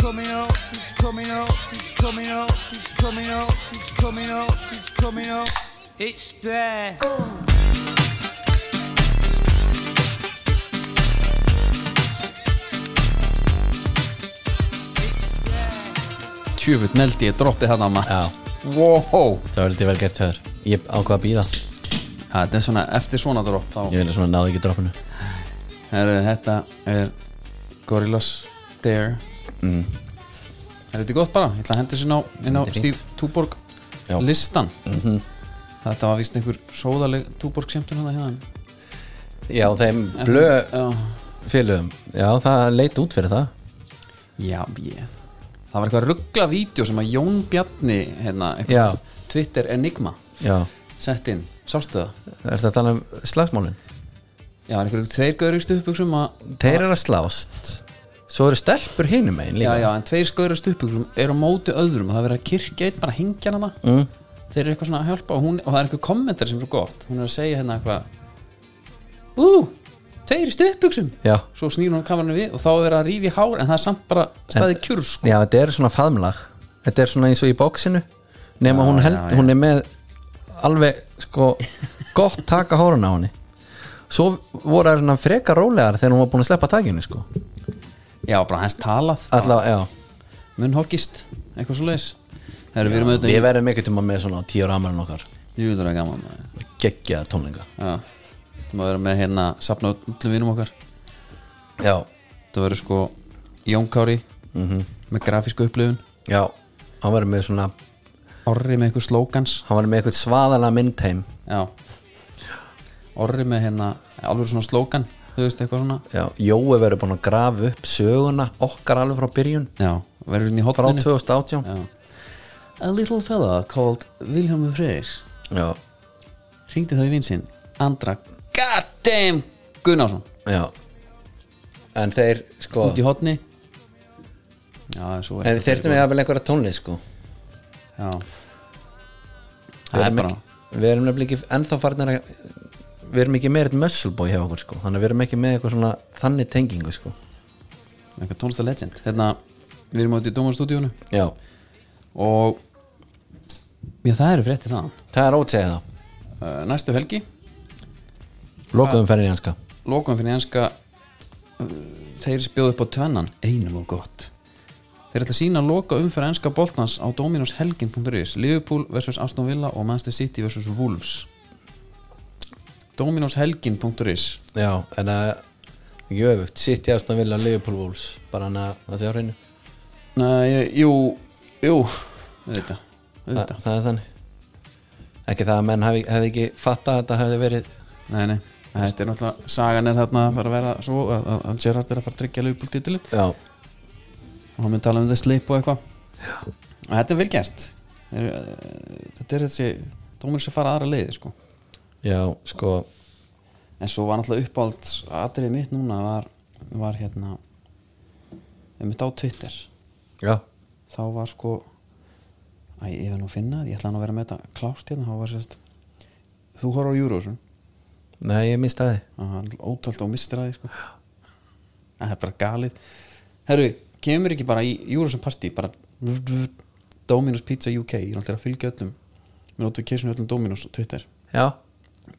coming up, it's coming up, it's coming up, it's coming up, it's coming up, it's coming up. It's there. Tjöfull neldi ég droppið þarna maður Já, Wow það var lítið vel gert höður Ég ákvað að býða ja, Þetta er svona eftir svona dropp þá Ég vilja svona náði ekki droppinu Herru, þetta er Gorillaz Dare Mm. Er þetta gott bara? Ég ætla að henda sér inn á, inn á Þetta er fínt. Steve Tuborg Já. Mhm. listan Þetta var víst einhver sóðaleg Tuborg skemmtun hann að hérna Já, þeim blö Já, félögum Já, það leit út fyrir það já ég. Það var eitthvað ruggla vídeo sem að Jón Bjarni hérna, eitthvað Já. svona Twitter Enigma Já, sett inn, sástu það? er þetta að tala um slagsmálin? Já, það er einhverjum tveir gaurið stuðbuksum að Þeir eru að slást Svo eru stelpur hinum megin Já, líka já, en tveir skaurið stuðbuksum eru á móti öðrum og það er verið að kirkja einn bara hengja hana Mm. þeir eru eitthvað svona að hjálpa og, hún, og það er eitthvað kommentar sem er svo gott hún er að segja hérna eitthvað Ú, tveir í stuðbuksum já. svo snýr hún kamerunni við og þá er verið að rífi í hár en það er samt bara staðið kjur sko. já, þetta er svona faðmlag Þetta er svona eins og í bóksinu Nefn að hún held, já, já. hún er með Alveg, sko, gott taka hórun á henni Svo voru það svona frekar rólegar Þegar hún var búin að sleppa takinu, sko já, bara hans talað, Alla, já munnhoggist eitthvað svo leis það eru verið með Við þetta verðum ekkert um að með svona á tíu ára ammælun okkar í júður að gaman maður. Geggja tónlinga já, það verið með hérna safna öllum vinum okkar Já, það verið sko Jón Kári Mhm. með grafísku upplifun já Hann var með svona, Orri með eitthvað slogans hann var með eitthvað svaðalega mynd heim já Orri með hérna alveg svona slogan þú veist eitthvað svona Já, Jói verður búin að grafa upp söguna Okkar alveg frá byrjun já, verið hérna í Frá hotninu 2018 já. a little fella called Wilhelm Freyr Já, ringdi þá í vinsinn Andra Goddamn Gunnarsson já En þeir, sko út í hotni Já, svo er En þeir þurftum við að vel einhverja tónlist sko Já Við Það er erum bara ekki- Við erum nefnilega ekki ennþá farnir að Við erum ekki með eitt muscleboy hjá okkur sko Þannig að við erum ekki með eitthvað svona þannig tengingu sko eitthvað tónlistar legend Hérna, við erum átt í Dómarstúdíónu Já, og já, það eru frétti þaðan það er ótsegið það uh, Næstu helgi, Lokaðum ferðin í hanska lokum fyrir enska uh, þeir spjóðu upp á tvennan einum og gott Þeir ætla að sína loka umfyrir enska boltans á dominoshelgin.is Liverpool vs. Aston Villa og Manchester City vs. Wolves dominoshelgin.is Já, en það er ekki öfugt Sitt í aðstæðan vilja Liverpool Wolves Bara hann að það sé á hreinu Nei, jú, jú auðvitað, Þa, auðvitað Það er þannig Ekki það að menn hefði, hefði ekki fattað að þetta hefði verið Nei, nei, þetta er náttúrulega sagan er þarna að fara að vera svo að, að- að Gerard er að fara að tryggja Liverpool titilin Já, og hann mun tala um það slip og eitthvað og þetta er vel gert Þeir eru, eh, þetta er þessi dómur sem fara aðra leiði sko já, sko en svo var náttúrulega uppáld aðrið mitt núna var, var hérna mitt á Twitter Já, þá var sko æ, ég verð nú að finna, það, ég ætla nú að vera með þetta klárt hérna, þá var sérst þú horfður á Eurosun nei, ég minnst að þið og hann ótöld og mistir að því sko. En það er bara galið herru, kemur ekki bara í Júrusson party bara Dominos Pizza UK, ég er alltaf að fylgja öllum með notification í öllum Dominos á Twitter Já,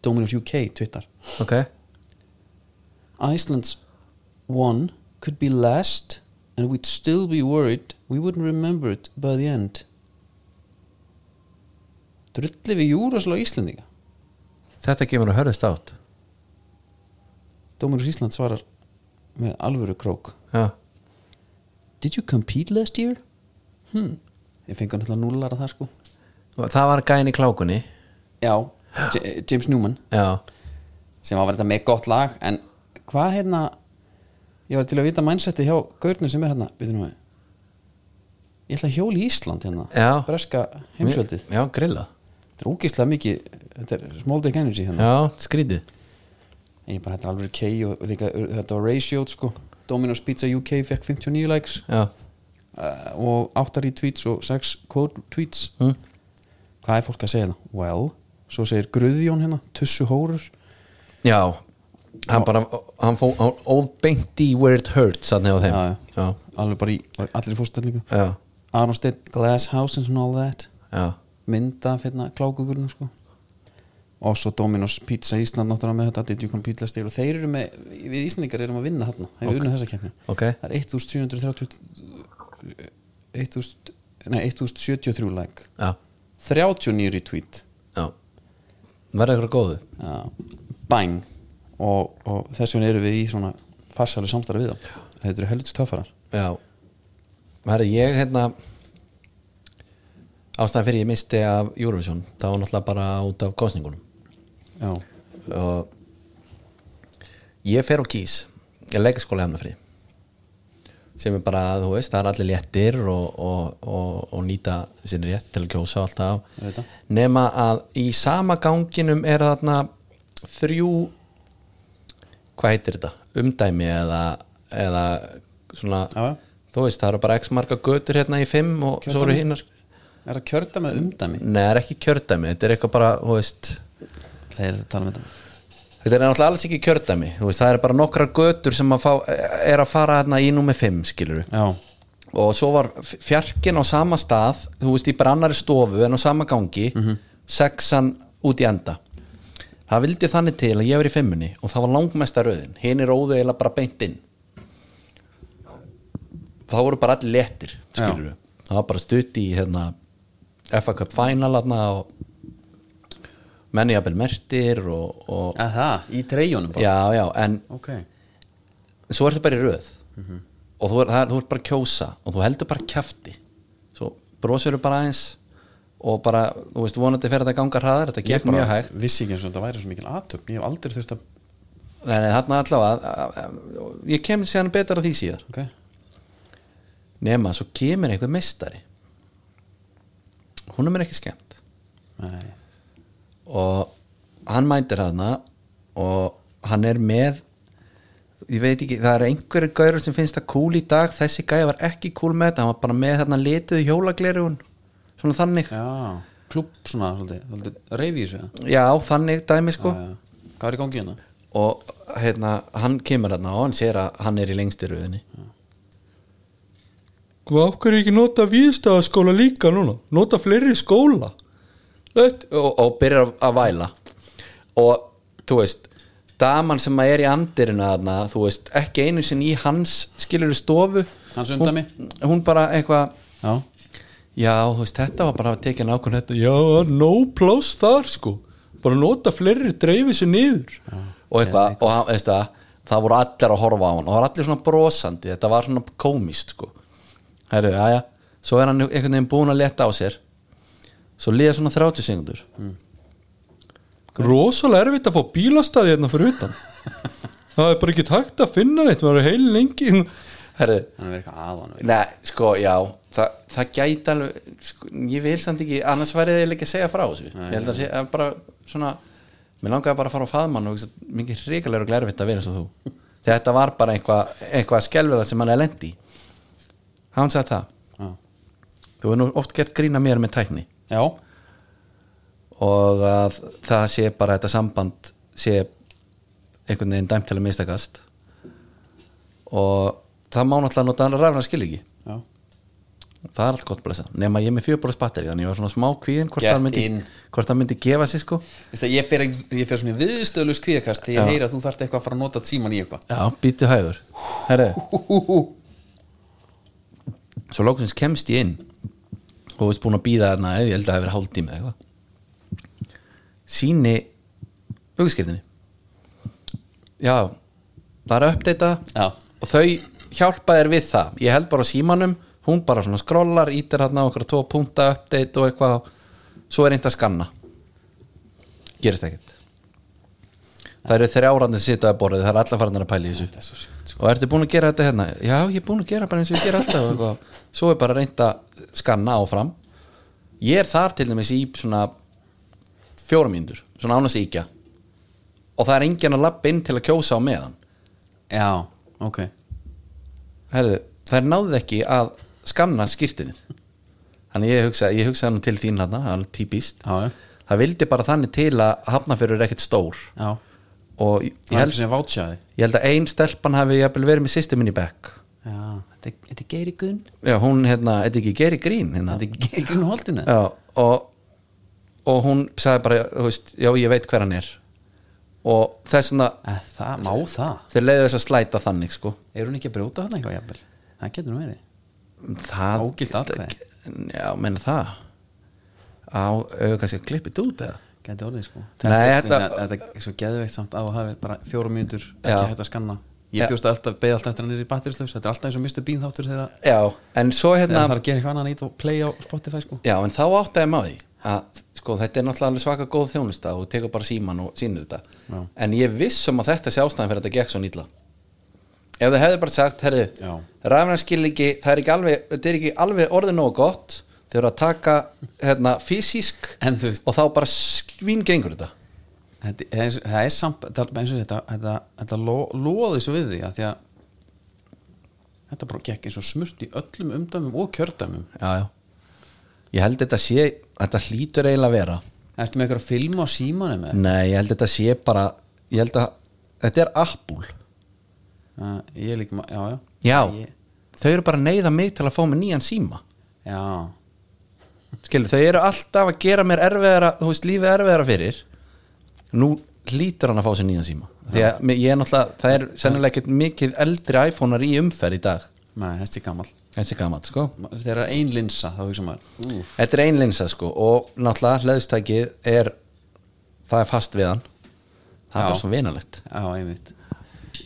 Dominos UK Twitter ok Iceland's one could be last and we'd still be worried we wouldn't remember it by the end drulli við Júrusson á Íslendinga Þetta kemur að hörðast átt Dominos Ísland svarar með alvöru krók Já, Did you compete last year? Hmm. Ég fengi hann alltaf núlar að það sko það var gæin í klákunni Já, J- James Newman Já, sem var þetta með gott lag en hvað hérna ég var til að vita mindsetti hjá Gaurnum sem er hérna byrju nú við ég ætla að hjóla í Ísland hérna Já. breska heimsveldið já, grillað þetta er ógeðslega mikið þetta er small dick energy hérna Já, skrítið ég bara þetta er alveg kei og líka, þetta var ratioed sko Domino's Pizza UK fekk 59 likes Já, uh, og 8 retweets og 6 quote tweets Mm. hvað hérna, er fólk að segja það? Well, svo segir Gruðjón hérna, tussu hórur já hann bara, hann fó hann óð beint í where it hurts hann hefur þeim Já, já, alveg bara í allir fórstællingu já, Aron Steinn, Glass Houses and all that já, mynda fyrir klákugurinn sko. og svo Dominos Pizza Ísland náttúrulega með þetta, Did You Come Pizza Steel og þeir eru með, við Íslandingar erum að vinna þarna það er okay. unnað þessa keppni ok það er 1730 1000 nei, 1073 like já, 39 retweet já verða ykkur góðu Já, bang og, og þess vegna erum við í svona farsælu samstarfi við þá þetta eru helvits töffarar Já Herri, ég hérna ástæðan fyrir ég misti af Eurovision það var náttúrulega bara út af kostningunum já, og ég fer og kýs ég leika skóla efnafri sem er bara, þú veist, það er allir léttir og, og, og, og nýta sinni rétt til að kjósa og alltaf Ég veit það. nema að í sama ganginum er þarna þrjú hvað heitir þetta, umdæmi eða, eða svona já, já. þú veist, það eru bara x marga götur hérna í 5 og svo eru Kjördæmi? hinnar er það kjörda með umdæmi Nei, það er ekki kjördæmi, þetta er eitthvað bara, þú veist það er að tala með þetta þetta er náttúrulega alls ekki kjördæmi þú veist, það eru bara nokkra götur sem að fá, er að fara hérna í númer 5, skilur já, og svo var f- fjarkinn á sama stað þú veist, í bara annari stofu en á sama gangi sexan út í enda það vildi þannig til að ég var í fimmunni og það var langmesta röðin hinn er óðu eiginlega bara beint inn þá voru bara allir léttir skilur við, það var bara stutt í hérna, FA Cup Final hérna, og menni jafnvel mertir og, og að það, í treyjónum bara já, já, en ok, svo ertu bara í röð og þú, er, það er, þú ert bara að kjósa og þú heldur bara kjafti svo brosur þú bara aðeins og bara, þú veist, vonandi fer þetta að ganga hraðar þetta gekk mjög hægt vissi ekki eins og þetta væri svo mikil aðtöfn ég hef aldrei þurft að nei, nei, þarna allavega að- að- að- ég kem séðan betur að því síðar ok, nema, svo kemur einhver meistari hún er mér ekki skemmt nei, og hann mændir hana og hann er með ég veit ekki, það eru einhverju gaurur sem finnst það cool í dag, þessi gæja var ekki cool með þetta, hann var bara með þarna lituð hjólaglerugun, svona þannig já, já klubb svona, svolítið, svolítið reyfi í þessu eða? þannig dæmi sko Já, já. hvað er í gangi hérna? og hérna, hann kemur þarna og hann sér að hann er í lengstu röðinni Hvað okkur Sko, er ekki nota viðstæðaskóla líka núna? Nota fleiri skóla? Þetta, og, og byrjar að, að væla og þú veist daman sem er í andirinu þarna þú veist, ekki einu sinni í hans skilur stofu Hans hún, undæmi? hún bara eitthvað já, Já, þú veist, þetta var bara að tekja nákvæmlega þetta já, no pláss þar sko Bara nota fleiri dreifið sér niður og eitthvað, og hann, veist það það voru allir að horfa á hann og það var allir svona brosandi, þetta var svona komist sko. Herru, já, já, svo er hann einhvern veginn búin að leta á sér svo liða svona 30 sekundur Rosalega erfitt að fá bílastæði hérna fyrir utan Það er bara ekki hægt að finna neitt maður er heil lengi Herru, hann er verið eitthvað aðan nei, sko, já það, það gæti alveg, sko, ég vil samt ekki annars værið ég ekki að segja frá þessu ég held að sé, að bara svona mér langaði bara að fara á faðmann og hugsa, mikið hrikalega og erfitt að vera eins og þú þetta var bara eitthvað, eitthvað skelfilega sem hann er lendi hann sagði það já, Þú er nú oft gert grína mér með tækni já, og að það sé bara þetta samband sé einhvern veginn dæmt til að mistakast og það má náttúrulega nota annar rafnar skilíki já. það er allt gott blessa, nema ég er með fjörbróðs batteri þannig ég var svona smá kvíðin hvort Get það myndi, in. hvort það myndi gefa sér sko Veistu, ég, fer, ég fer svona viðstöðlust kvíðakast þegar ég heyri að þú þarft eitthvað að fara að nota tíman í eitthvað já, býtu hægur Herre, svo lóksins kemst ég inn og veist búin að býða þarna ég held að það hefur hálftími eða eitthvað síni augskriftinni já það er að uppdata Já. og þau hjálpa þér við það ég held bara á símanum, hún bara svona skrollar ítir þarna okkur tvo punta uppdate og eitthvað, svo er eint að skanna gerist ekkert það eru þrjárandi sem sita að borðið, það eru allar farinir að pæla í þessu þetta er svo sko. sjukt og ertu búin að gera þetta hérna já ég er búin að gera bara eins og ég gera alltaf og eitthvað. svo er bara reynd að skanna áfram ég er þar til dæmis í svona fjóra mínútur svona án að síkja og það er enginn að labba inn til að kjósa á meðan já, ok Herðu, þær náðu ekki að skanna skýrtinni þannig ég hugsa ég hugsa hann til þín hann, hann típist já, já, það vildi bara þannig til að hafnafjörður er ekkert stór já, og ég Það er held, ekki sem vátsjáði ég held að ein stelpan hafi jafnvel verið með systir minni í bekk Já, þetta er- þetta er Geiri Gunn já, hún hérna, þetta er ekki Geri Grín hérna. Þetta er Geiri Gunn holdinu já, og, og hún sagði bara, þú veist, já ég veit hver hann er og þess vegna Eh, Það má það þau leiðu þess að slæta þannig sko Er hún ekki að brjóta þarna eitthvað jafnvel? Það getur nú verið það, Ógilt atkvæði. já, menna það á, auðvitað kannski að klippi þetta út eða Gæti orðið sko Nei, ég Þetta ætla- er- þetta er svo geðveikt samt á að hafa bara fjóra mínútur ekki Já. hægt að skanna Já. Ég bjóst alltaf, beði alltaf eftir hann er í batterislaus Þetta er alltaf eins og Mr. Bean þáttur þegar já, en svo þegar hérna það þarf að gera eitthvað annað nýtt og play á Spotify sko Já, en þá áttaði maður því að sko, þetta er náttúrulega alveg svaka góð þjónusta og tekur bara síman og sýnir þetta Já. en ég viss um að þetta sé ástæðan fyrir að þetta gekk svo nýtla ef þau hefðu bara sagt herri, Já. rafnarskilningi það er ekki alveg, þetta er ekki alveg orðið nógu gott þau eru að taka hérna, fysisk En þú veist, og þá bara skvín gengur þetta þetta, það, er, það er samt það er eins og þetta, þetta, þetta lo, loði svo við því að því að þetta bara gekk eins og smurt í öllum umdæmum og kjördæmum já, já. ég held þetta sé þetta hlýtur eiginlega að vera Ertu með eitthvað að filma á símanum með? nei, ég held þetta sé bara ég held að þetta er appúl Uh, ég er líka, ma- já, já Já, ég, þau eru bara að neyða mig til að fá mig nýjan síma Já, Skilur, þau eru alltaf að gera mér erfiðara Þú veist, lífið erfiðara fyrir Nú lítur hann að fá sér nýjan síma Því að mér- ég er náttúrulega Það er sennilega ekkert mikið eldri iPhone-ar í umferð í dag nei, þetta er gamall Þessi gamalt, sko Ma- Þegar er ein linsa, þá hugsa maður Úf, Þetta er einlinsa, sko Og náttúrulega, hleðustækið er Það er fast við hann Það er Já. bara svo vinalegt já, einmitt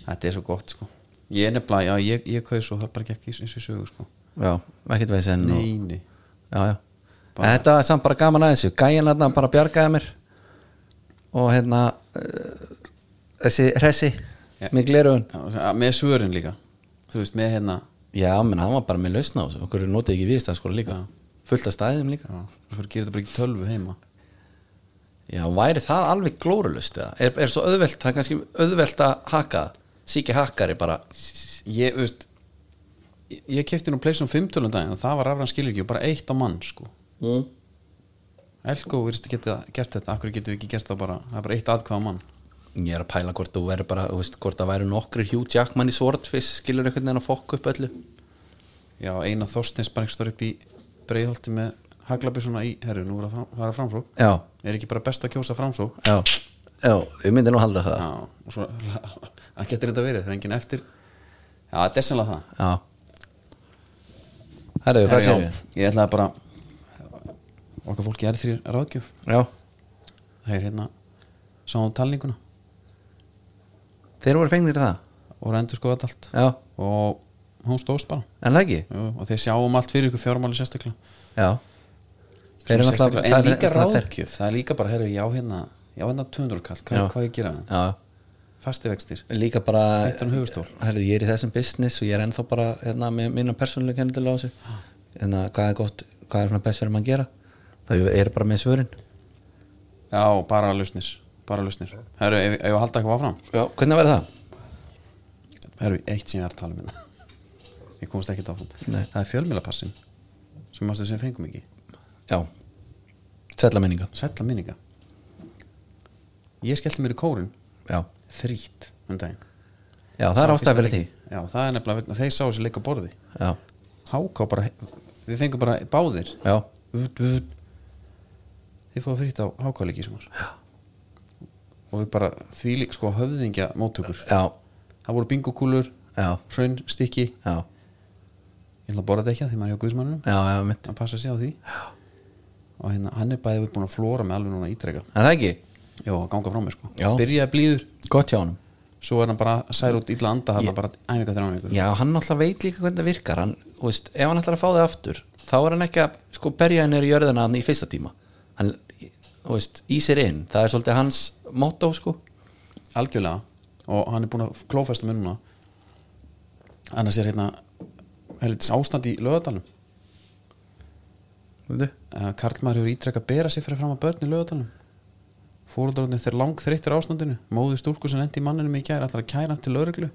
Þetta er svo gott, sko Ég er nefnilega, já, ég, ég kaus og það bara gekk eins og í sögu, sko Já, ekkert veist enn og, Neini já, já. En Þetta var samt bara gaman aðeins Gæin hann bara bjargaði mér Og hérna uh, Þessi hressi Já. Með glerugun Með svörin líka, þú veist, með hérna Já, menn hann var bara með lausna á þessu Okkur notið ekki viðstæðskóla líka Já. Fullt af stæðum líka Já, þú gerir þetta bara ekki í tölvu heima Já, væri það alveg glórulaust eða? er, er svo auðvelt, það er kannski auðvelt að haka það. Siki hakari bara ég, þú veist ég, ég kefti nú Playstation 5 tölum um daginn og það var rafrann skilvíki og bara eitt á mann sko mm. Elko virðist að geta gert þetta, akkur getum við ekki gert það bara það er bara eitt aðkvæða mann Ég er að pæla hvort þú verður bara þú veist, Hvort það væri nokkri Hugh Jackman í Swordfish Skilur einhvern veginn að fokk upp öllu já, eina þorstins bara ekki stór upp í breiðholti með haglabissuna í herru, nú var að fara framsók Já, er ekki bara best að kjósa framsók já, já, ég myndi nú halda það já, og svo það getur þetta verið, það er enginn eftir já, þetta er sennilega það Já Herru, hvað Herru, séu já, ég ætlaði bara okkar fólki er þrýr ráðgjöf Já, það er hérna, sáum talninguna þeir voru fengnir í það og rendur skoða allt Já, og hún stóðst bara en það ekki Jú, og þeir sjáum allt fyrir ykkur fjármáli sérstaklega, Já Þeir eru náttúrulega sérstaklega. en það er- líka það er- ráðgjöf það er líka bara, herru, já hérna já hérna 200 kall, hvað, Já. hvað ég gera með það Já, um fasti vextir, líka bara Beint hann á höfuðstól. Herru, ég er í þessum business og ég er ennþá bara hérna, með mína persónulega kennilega á þessu en hvað er gott, hvað er svona best fyrir maður að gera það er bara með svörin já, bara lausnir bara lausnir, herru, ef, ef að halda eitthvað áfram Já, hvernig verður það? herru, eitt sem ég er að tala um hérna ég komst ekkert áfram Nei. það er fjölmjölapassin sem mástu sem við fengum ekki, Já, sætla minninga sætla minninga ég skellti mér í kórin Já, þrýtt um daginn já það er Sá ástæð fyrir fyrsta því leik- já, það er nefnilega vegna, þeir sáu sér leik á borði Já, háká bara, við fengum bara báðir já, vud, vud. þið fóðu frýtt á hákáleiki sem var og við bara þvílík sko höfðingja móttökur já, það voru bingokúlur, já, hraun, stikki já ég ætla að borða þetta ekki að því maður er hjá guðsmannum Já, já, mitt að passa sig á því og hérna, hann er bæðið búin að flóra með alveg núna ítreka En það ekki, já, að ganga frá mér sko, Já. byrjaði blíður gott hjá honum svo er hann bara sær út illa anda hann bara æfingar þrjá mig Já, hann náttúrulega veit líka hvernig það virkar hann, þú veist, ef hann ætlar að fá það aftur þá er hann ekki að sko berja henni í jörðina hann í fyrsta tíma hann, þú veist, í sér inn, það er svolítið hans motto sko algjörlega og hann er búin að klófesta mér núna annars er hérna helvitis ástand í lögadalum Veitu? uh, Karlmaður hefur ítrekka að bera sig fyrir fram að börn í lögadalum fóröldarotnir þeir lang þreyttir á ástandinu móðu stúlku sem endi í manninum í gær ætlar að kæra hann til lögreglu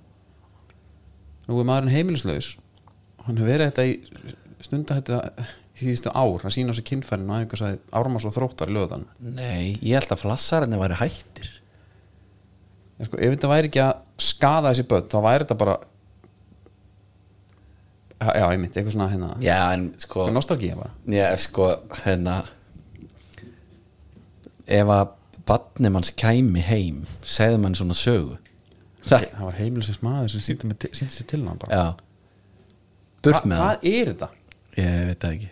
nú er maðurinn heimilislaus hann hefur verið þetta í stunda þetta síðustu ár að sína á sig kynfærin og aðeins sagði ármas og þróttar í lögadalum Nei, ég held að flassarinn væri hættir en sko, ef þetta væri ekki að skada þessi börn þá væri þetta bara já, já, einmitt, eitthvað svona hérna já, en sko eitthvað nostalgía bara já, ef sko, hérna ef að batnum hans kæmi heim segði mann svona sögu það, það var heimilisins maður sem sýndi mig til- sýndi sér til hann bara já burt með hann hvað er þetta? ég veit það ekki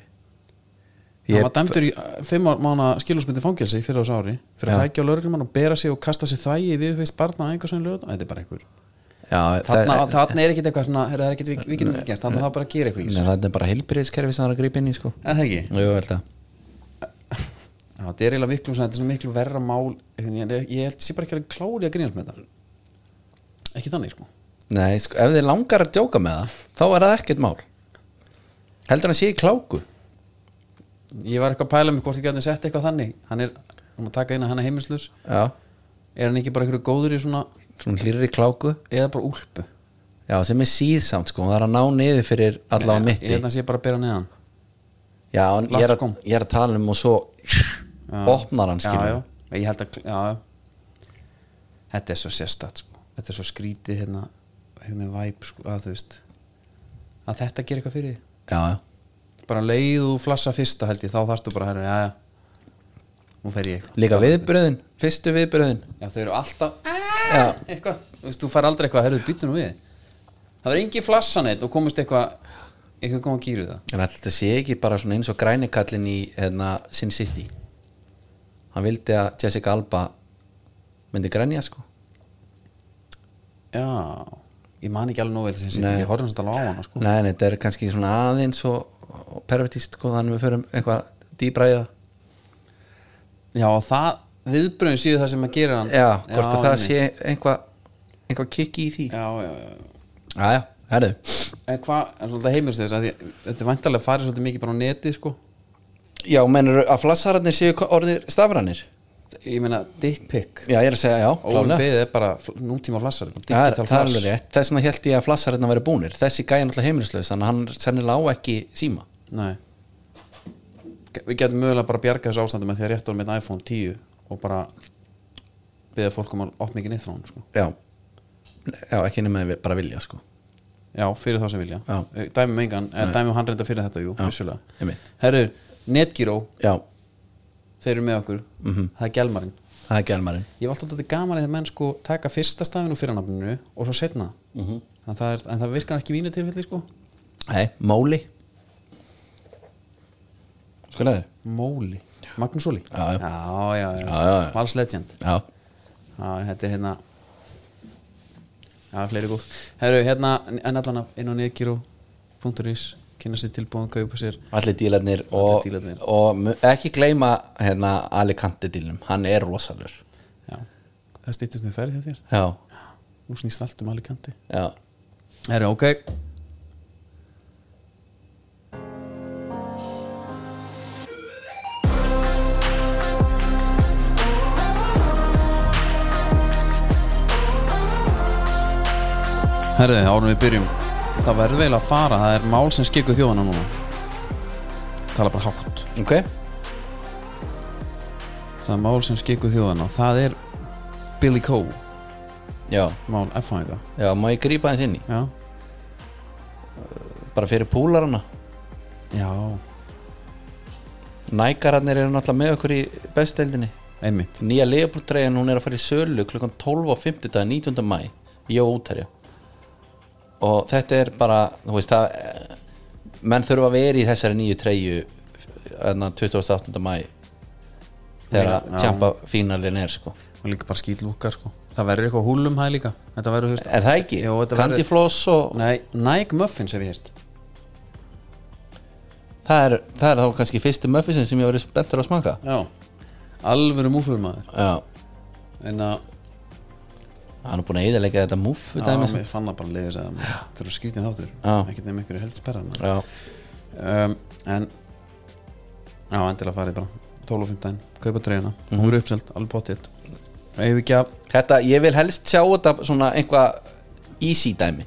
hann var dæmdur í uh, fimm á- mána skilúsmyndi fangelsi fyrir ás ári fyrir að Já. hækja á lögreglumann og bera sig og kasta sér þvægi við fyrst barna að einhversveginn lög þetta er bara einhver já, þarna, það, þarna er ekkit eitthvað svona heyrðu, það er ekkit við, við getum ekki gert þarna það bara að gera eitthvað í Nei, þessu það er bara heilbyrðiskerfi sem það er að grípa inn í sko eða það ekki? Jú, held að Já, þetta er eiginlega miklu, svona, þetta er svona miklu verra mál þannig að ég held sé bara ekki að klári að grínast með þetta ekki þannig sko Nei, sko, ef þið langar að djóka með það þá er það ekkert mál Heldur hann sé í kláku ég var eitthvað að pæla mig hvort ég gæti sett eitthvað þannig hann er, um að taka inn að hann er heimilslaus Já, er hann ekki bara einhverju góður í svona svona hlýrri kláku eða bara úlpu Já, sem er síðsamt sko, það er að ná niður fyrir allavega Nei, mitti ég held að hann sé bara að bera neðan Já, en ég er, að, Langskom. ég er að tala um og svo opnar hann skilur já, já, ég held að já, já. þetta er svo sérstætt sko. þetta er svo skrítið hérna, hérna væp sko, að þú veist að þetta gerir eitthvað fyrir þig. já, já. bara leið og flassa fyrsta held ég þá þarftu bara að herra, já, já nú fer ég Líka viðbröðin, fyrstu viðbröðin já, þau eru alltaf Já, eitthvað, þú veist, þú fær aldrei eitthvað herruðu býttu nú við það er engi flassan eitt og komist eitthvað eitthvað kom að gýru það en alltaf sé ekki bara svona eins og grænikallin í hérna, Sin City Hann vildi að Jessica Alba myndi grænja sko já, ég man ekki alveg nóg vel sem sér, Nei. ég horfði hans alveg á hana sko. Nei, nei, þetta er kannski svona aðeins og, og pervertist, sko, þannig við förum eitthvað dýbra í það já, og það viðbröðin síðu það sem að gera hann Já, hvort að það einmitt. sé eitthvað eitthvað kikki í því Já, já, já, já já, herðu en hvað, en svolítið heimilst þess að því, þetta er vantarlega farið svolítið mikið bara á neti sko. Já, mennur að flassararnir séu ko- orðnir stafrannir ég meina dick pic Já, ég er að segja, já, klálega ólimpið er bara fl- nútíma flassar bara Það er, digital það er flass. alveg rétt, þess vegna held ég að flassararnar væri búnir Þessi gæja er náttúrulega heimilislaus, þannig að hann sennilega á ekki síma Nei G- Við getum mögulega bara að bjarga þessu ástandi með því að rétt orðum með iPhone 10 og bara beða fólk um að opna ekki neitt frá hún sko. Já, já ekki nema við bara vilja, sko Já, fyrir þá sem vilja Eh, Já. Dæmi með engan, eða dæmi hann reynda fyrir þetta, jú, Já, vissulega einmitt. Herru, Netgyro, Já, þeir eru með okkur Mhm. -hmm. Það er gælmarinn það er gælmarinn Ég var alltaf gaman eða menn sko taka fyrsta stafinu fyrir nafninu og svo setna mm Mhm. -hmm. en, það er, en það virkar ekki í mínu tilfelli sko Nei, móli Sko leður Móli, Magnús Óli Já, já. já, já, já. Já, já, já. Vals Legend Já, Já, þetta er hérna Já, fleiri góð Herru, hérna, en allan að inn á neðgíró.is kynna sér tilbúðan, kaupa sér allir dílarnir og, Allir dílarnir. og mu- ekki gleyma hérna Alicante dílnum, hann er rosalur Já, það stýttist við ferði hjá þér Já, Nú snýst allt um Alicante já Herru, ok Herru, árum við byrjum Það verður vel að fara, það er mál sem skikku þjóðana núna Tala bara hátt Ok, Það er mál sem skikku þjóðana Það er Billy Cole, já, mál F-fæða já, má ég grípa hans inn í Já, bara fyrir púlarana já, Nækararnir eru náttúrulega með okkur í besteldinni einmitt Nýja leifbúltreiðan, hún er að fara í sölu klukkan 12 á 50 dag, 19. mæ Jó útherja Og þetta er bara, þú veist það eh, menn þurfa að vera í þessari nýju treyju hérna 28. mæ þegar að Já. tjampa fínalin er sko Og líka bara skýtlúkar sko Það verður eitthvað húlum hæ líka Þetta verður, þú veist Er það ekki? Jó, þetta verður- Candyfloss og Eh, Nei, Nike Muffins hef ég heyrt það er, það er þá kannski fyrsti muffinsin sem ég hef verið spenntur að smaka Já Alvöru múfur maður Já, En að hann er búin að eðalega þetta muff Já, dæmi, mér fann það bara leiðis að Það eru skrýtin þáttur Já. Ekkert nefnir einhverju held sperra maður Já, um, En Já, endilega farið bara 12 og 15, kaupa treyjuna Hún er uppselt, alveg potið Ef ekki að Þetta, ég vil helst sjá þetta svona einhvað easy dæmi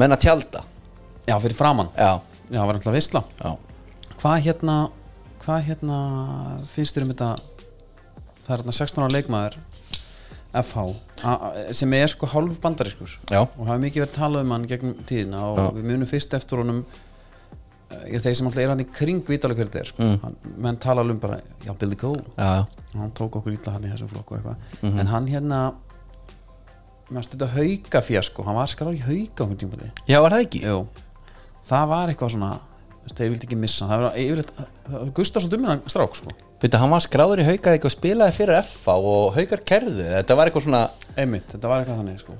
menn að tjálta Já, fyrir framann Já, Já, það var alltaf veistla já Hvað hérna Hvað hérna finnst þér um þetta Það er hérna 16 ára leikmaður FH a- a- sem er sko hálf bandariskur Já. og hafa mikið verið talað um hann gegnum tíðina og Já. við munum fyrst eftir honum eh, þeir sem alltaf er hann í kring vitalega hverju þetta er sko. hann, menn tala alveg um bara, já Billy Cole já, hann tók okkur illa hann í þessum flokku mm -hmm. en hann hérna maður stundar hauka fjasko hann var skar í um hauka okkur tímabili já, var það ekki? Jú, það var eitthvað svona þú veist, þeir vildi ekki missa hann. það var yfirleitt, Gustafsson dumminan strák sko. Veitu, hann var skráður í haukað eitthvað og spilaði fyrir FA og haukar kerðu Þetta var eitthvað svona, einmitt, þetta var eitthvað þannig sko.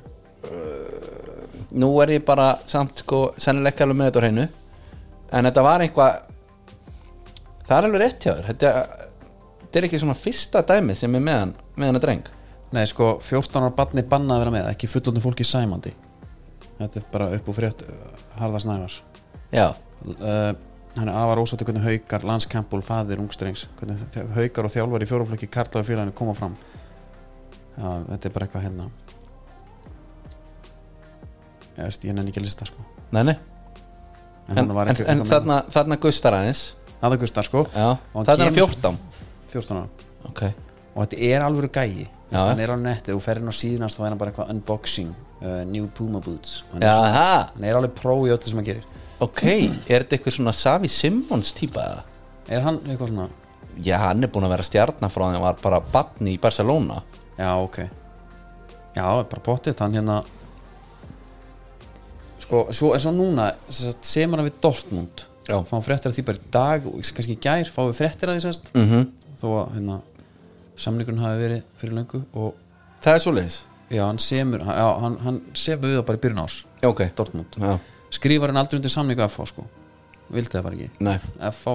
nú er ég bara samt sko, sennilega ekki alveg með þetta á hreinu En þetta var eitthvað Það er alveg rétt hjá þér Þetta þetta er ekki svona fyrsta dæmi sem er meðan, meðan að dreng nei sko, 14 ára barni bannað að vera með ekki fullotni fólki sæmandi þetta er bara upp og frétt uh, Harðar Snævars Já, uh, hann er afar ósáttu hvernig haukar landskampul, faðir, ungstrengs hvernig þe- haukar og þjálfar í fjóraflöki karlaðu félaginu koma fram já, þetta er bara eitthvað hérna ég veist, ég nenni ekki að lista sko nei, nei en, En, en, var en, ekki, en þarna, þarna gustar aðeins aða Gustar sko, Já, hann þarna er hann kemur- 14 14 ára Ok, og þetta er alveg gæi Þú veist, Já. hann er á netti og ferinn á síðanast þá er hann bara eitthvað unboxing uh, new Puma boots hann er, svona- jaha hann er alveg pró í öllu sem hann gerir Ok, er þetta eitthvað svona Savi Simmons típa eða? er hann eitthvað svona Já, hann er búin að vera stjarnar frá því hann var bara batni í Barcelona Já, ok Já, bara pottið, hann hérna Sko, svo, en svo núna sem sagt, semur hann við Dortmund Já. Fáum fréttir að því bara í dag og kannski í gær fáum við fréttir að því sérst mm þó að hérna, samningun hafi verið fyrir löngu og Það er svoleiðis já, hann semur já, hann, hann semur við það bara í byrjun ás Já, ok Dortmund Já, Skrifar hann aldrei undir samningu FH sko Vildi það bara ekki nei FH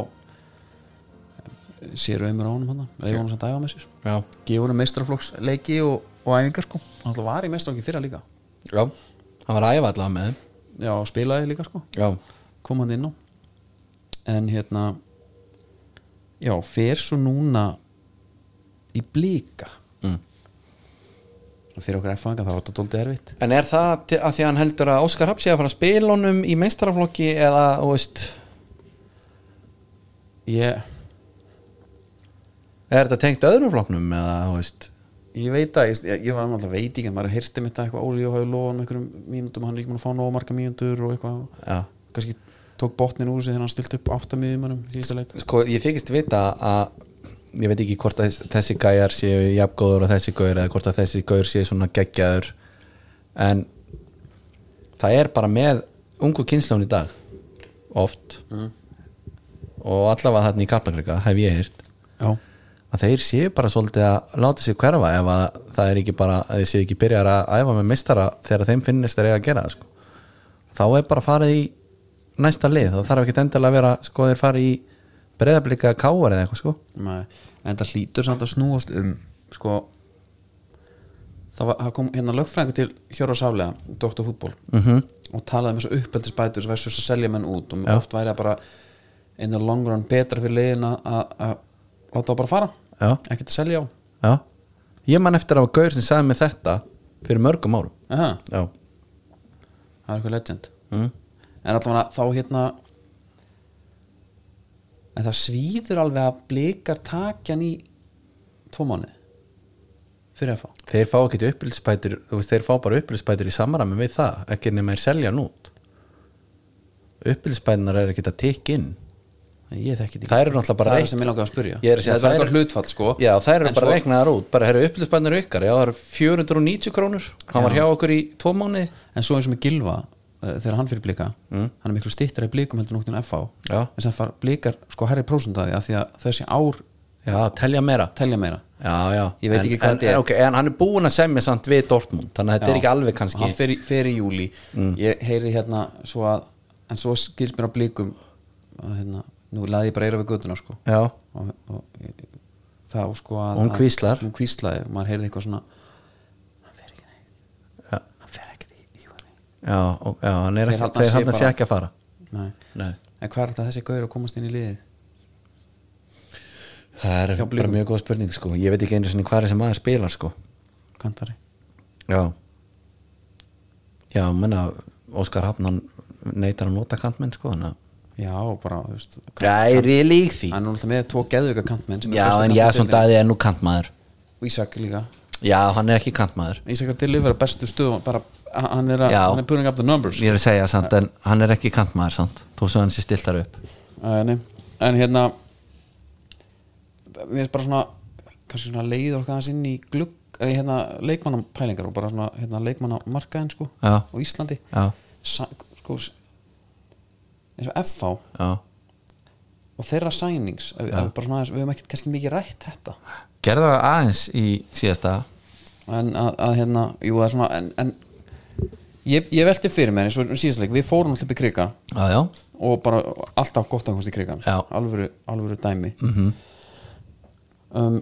sér auðmur á honum hann eða honum sem dæfa með sér Já, gefur hann meistraflokksleiki og, og æfingar sko hann alltaf var í meistraflokki fyrra líka já Hann var að æfa allavega með þeim já, og spilaði líka sko Já kom hann inn á en hérna já, fer svo núna í blika Mm. Og fyrir okkur F-fanga þá er þetta dóldi erfitt En er það til- að því að hann heldur að Óskar Hapsi að fara að spila honum í meistaraflokki eða, þú veist ég, Er þetta tengt öðrum flokknum eða, þú veist ég veit að ég, ég var alltaf veit ekki en maður heyrti mitt að eitthvað Óli og hafi lofað um einhverjum mínútum hann er ekki múin að fá nóg marga mínútur og eitthvað Já kannski tók botnin úr sig þegar hann stilt upp áttamiðum hann síðasta leik Sko, ég þykist vita að Ég veit ekki hvort að þess- þessi gæjar séu jafngóður og þessi gauður eða hvort að þessi gauður séu svona geggjaður En það er bara með ungu kynslán í dag Oft Og allavega þarna í Kaplakrika hef ég heyrt já, að þeir séu bara svolítið að láta sér hverfa ef að það er ekki bara að þeir séu ekki byrjar að æfa með mistara þegar þeim finnist þeir eiga að gera það sko. þá er bara farið í næsta lið þá þarf ekki endilega að vera sko þeir farið í breyðablika káar eða eitthvað sko Nei, en það hlýtur samt að snúast um sko það, var, það kom hérna lögfræðingur til Hjóra Sálega, Dr. Fútbol -hmm. og talaði um þessu uppeldisbætur sem versus að selja menn út og oft væri það bara in the long run betra fyrir leiðin að að láta það bara fara Já. ekkert að selja á já. ég man eftir að gaur sem sagði mig þetta fyrir mörgum árum Aha, já, það er eitthvað legend mm. en allavega þá hérna en það svíður alveg að blikar takjan í tvo mánu fyrir að fá þeir fá ekki upplýsbætur þeir fá bara upplýsbætur í samræmi við það ekki nema þeir selja nút upplýsbætunar er ekki að tikka inn ég þekki þetta ekki Það eru náttúrulega bara það reitt. er sem ég langaði að spyrja Ég er að segja, það þær er eru- eitthvað hlutfall sko Já, þær eru En bara svo- reiknaðar út bara herru upplýsbænir ykkar, já það eru 490 krónur hann var hjá okkur í tvo mánuði en svo eins og með Gilva uh, þegar hann fyrir blika hann er miklu stittar í blikum heldur núttun FH Mm. Já. en sem far blikar sko herri prósundaði af því að þessi ár Já, telja meira telja meira Já, já Ég veit En- ekki hvað en, þetta er. en, okay, en hann er búin að semja samt við Dortmund þannig að þetta Já. er ekki alveg Og kannski Mm. hann fer í, fer í júli ég heyri hérna svo að en svo skilst mér á blikum að hérna nú laði ég bara eira við göttuna sko Já, og, og ég- þá sko að Og hún að- hvíslar. hún hvíslaði og maður heyrði eitthvað svona hann fer ekki neitt Já. hann fer ekki í, í, í, já, og, já hann er Þeir ekki, halda þeir sig hann sé bara- ekki að fara nei Nei En hvað er þetta þessi gaur að komast inn í liðið? Það er Hjá bara Blikum. mjög góð spurning sko Ég veit ekki einu sinni hvað er sem maður spilar sko Kantari Já Já, menna Óskar Hafn hann neitar að nota kantmenn sko þannig að Já, bara, þú veist Já, er ég lík því Hann er náttúrulega með tvo geðvika kantmenn sem eru Já, bestu en kantmenn Jason deildinni. Dæði er nú kantmaður Og Ísak líka já, hann er ekki kantmaður Ísakar Dillif er að bestu stöðum bara, hann er, að, Já. hann er putting up the numbers ég er að segja samt, en hann er ekki kantmaður samt, þó svo hann sé stiltar upp Æ, nei. en hérna við erum bara svona kannski svona leiður okkar hans inn í glugg eða í, hérna leikmannapælingar og bara svona hérna leikmannamarkaðin sko Já. og Íslandi já, Sa, sko s- eins og FH já, og þeirra sænings ef, ef bara svona, aðeins- við höfum ekkert kannski mikið rætt þetta gerða það aðeins í síðasta en að, að hérna, jú það er svona en, en ég, ég velti fyrir mér eins og síðastleik, við fórum alltaf upp í krika já, já, og bara alltaf gott að komast í krigan Já. Mhm. alvöru, alvöru dæmi um,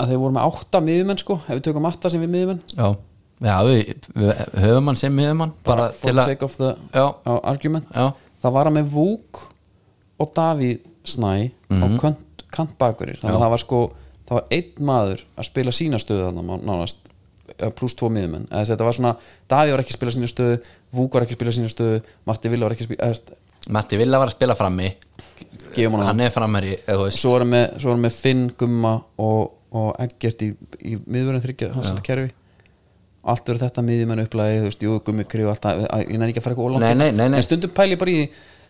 að þeir voru með átta miðumenn sko, ef við tökum átta sem við miðumenn já, já við, við höfum hann sem höfum hann bara, for til the að sake of the já, á argument já, það var að með Vúk og Davíð Snæ á kant, kantbakurir þannig að Mhm. Já. það var sko, það var einn maður að spila sína stöðu þannig að nánast eh, pluss tvo miðumenn, eða þetta var svona Davíð var ekki að spila sína stöðu, Vúk var ekki að spila sína stöðu Matti Villa var ekki að spila eða, þú veist, Matti Villa var að spila frammi gefum honum hann er framherri, eða þú veist svo erum við, svo erum við Finn, Gumma og, og Eggert í, í miðvörðin þryggja hans þetta kerfi allt verður þetta miðjumenn upplæði, þú veist, jú, Gummi Kri og allt það, að- ég nefn ekki að fara eitthvað ólangt Nei, nei, nei, nei. en stundum pæli bara í því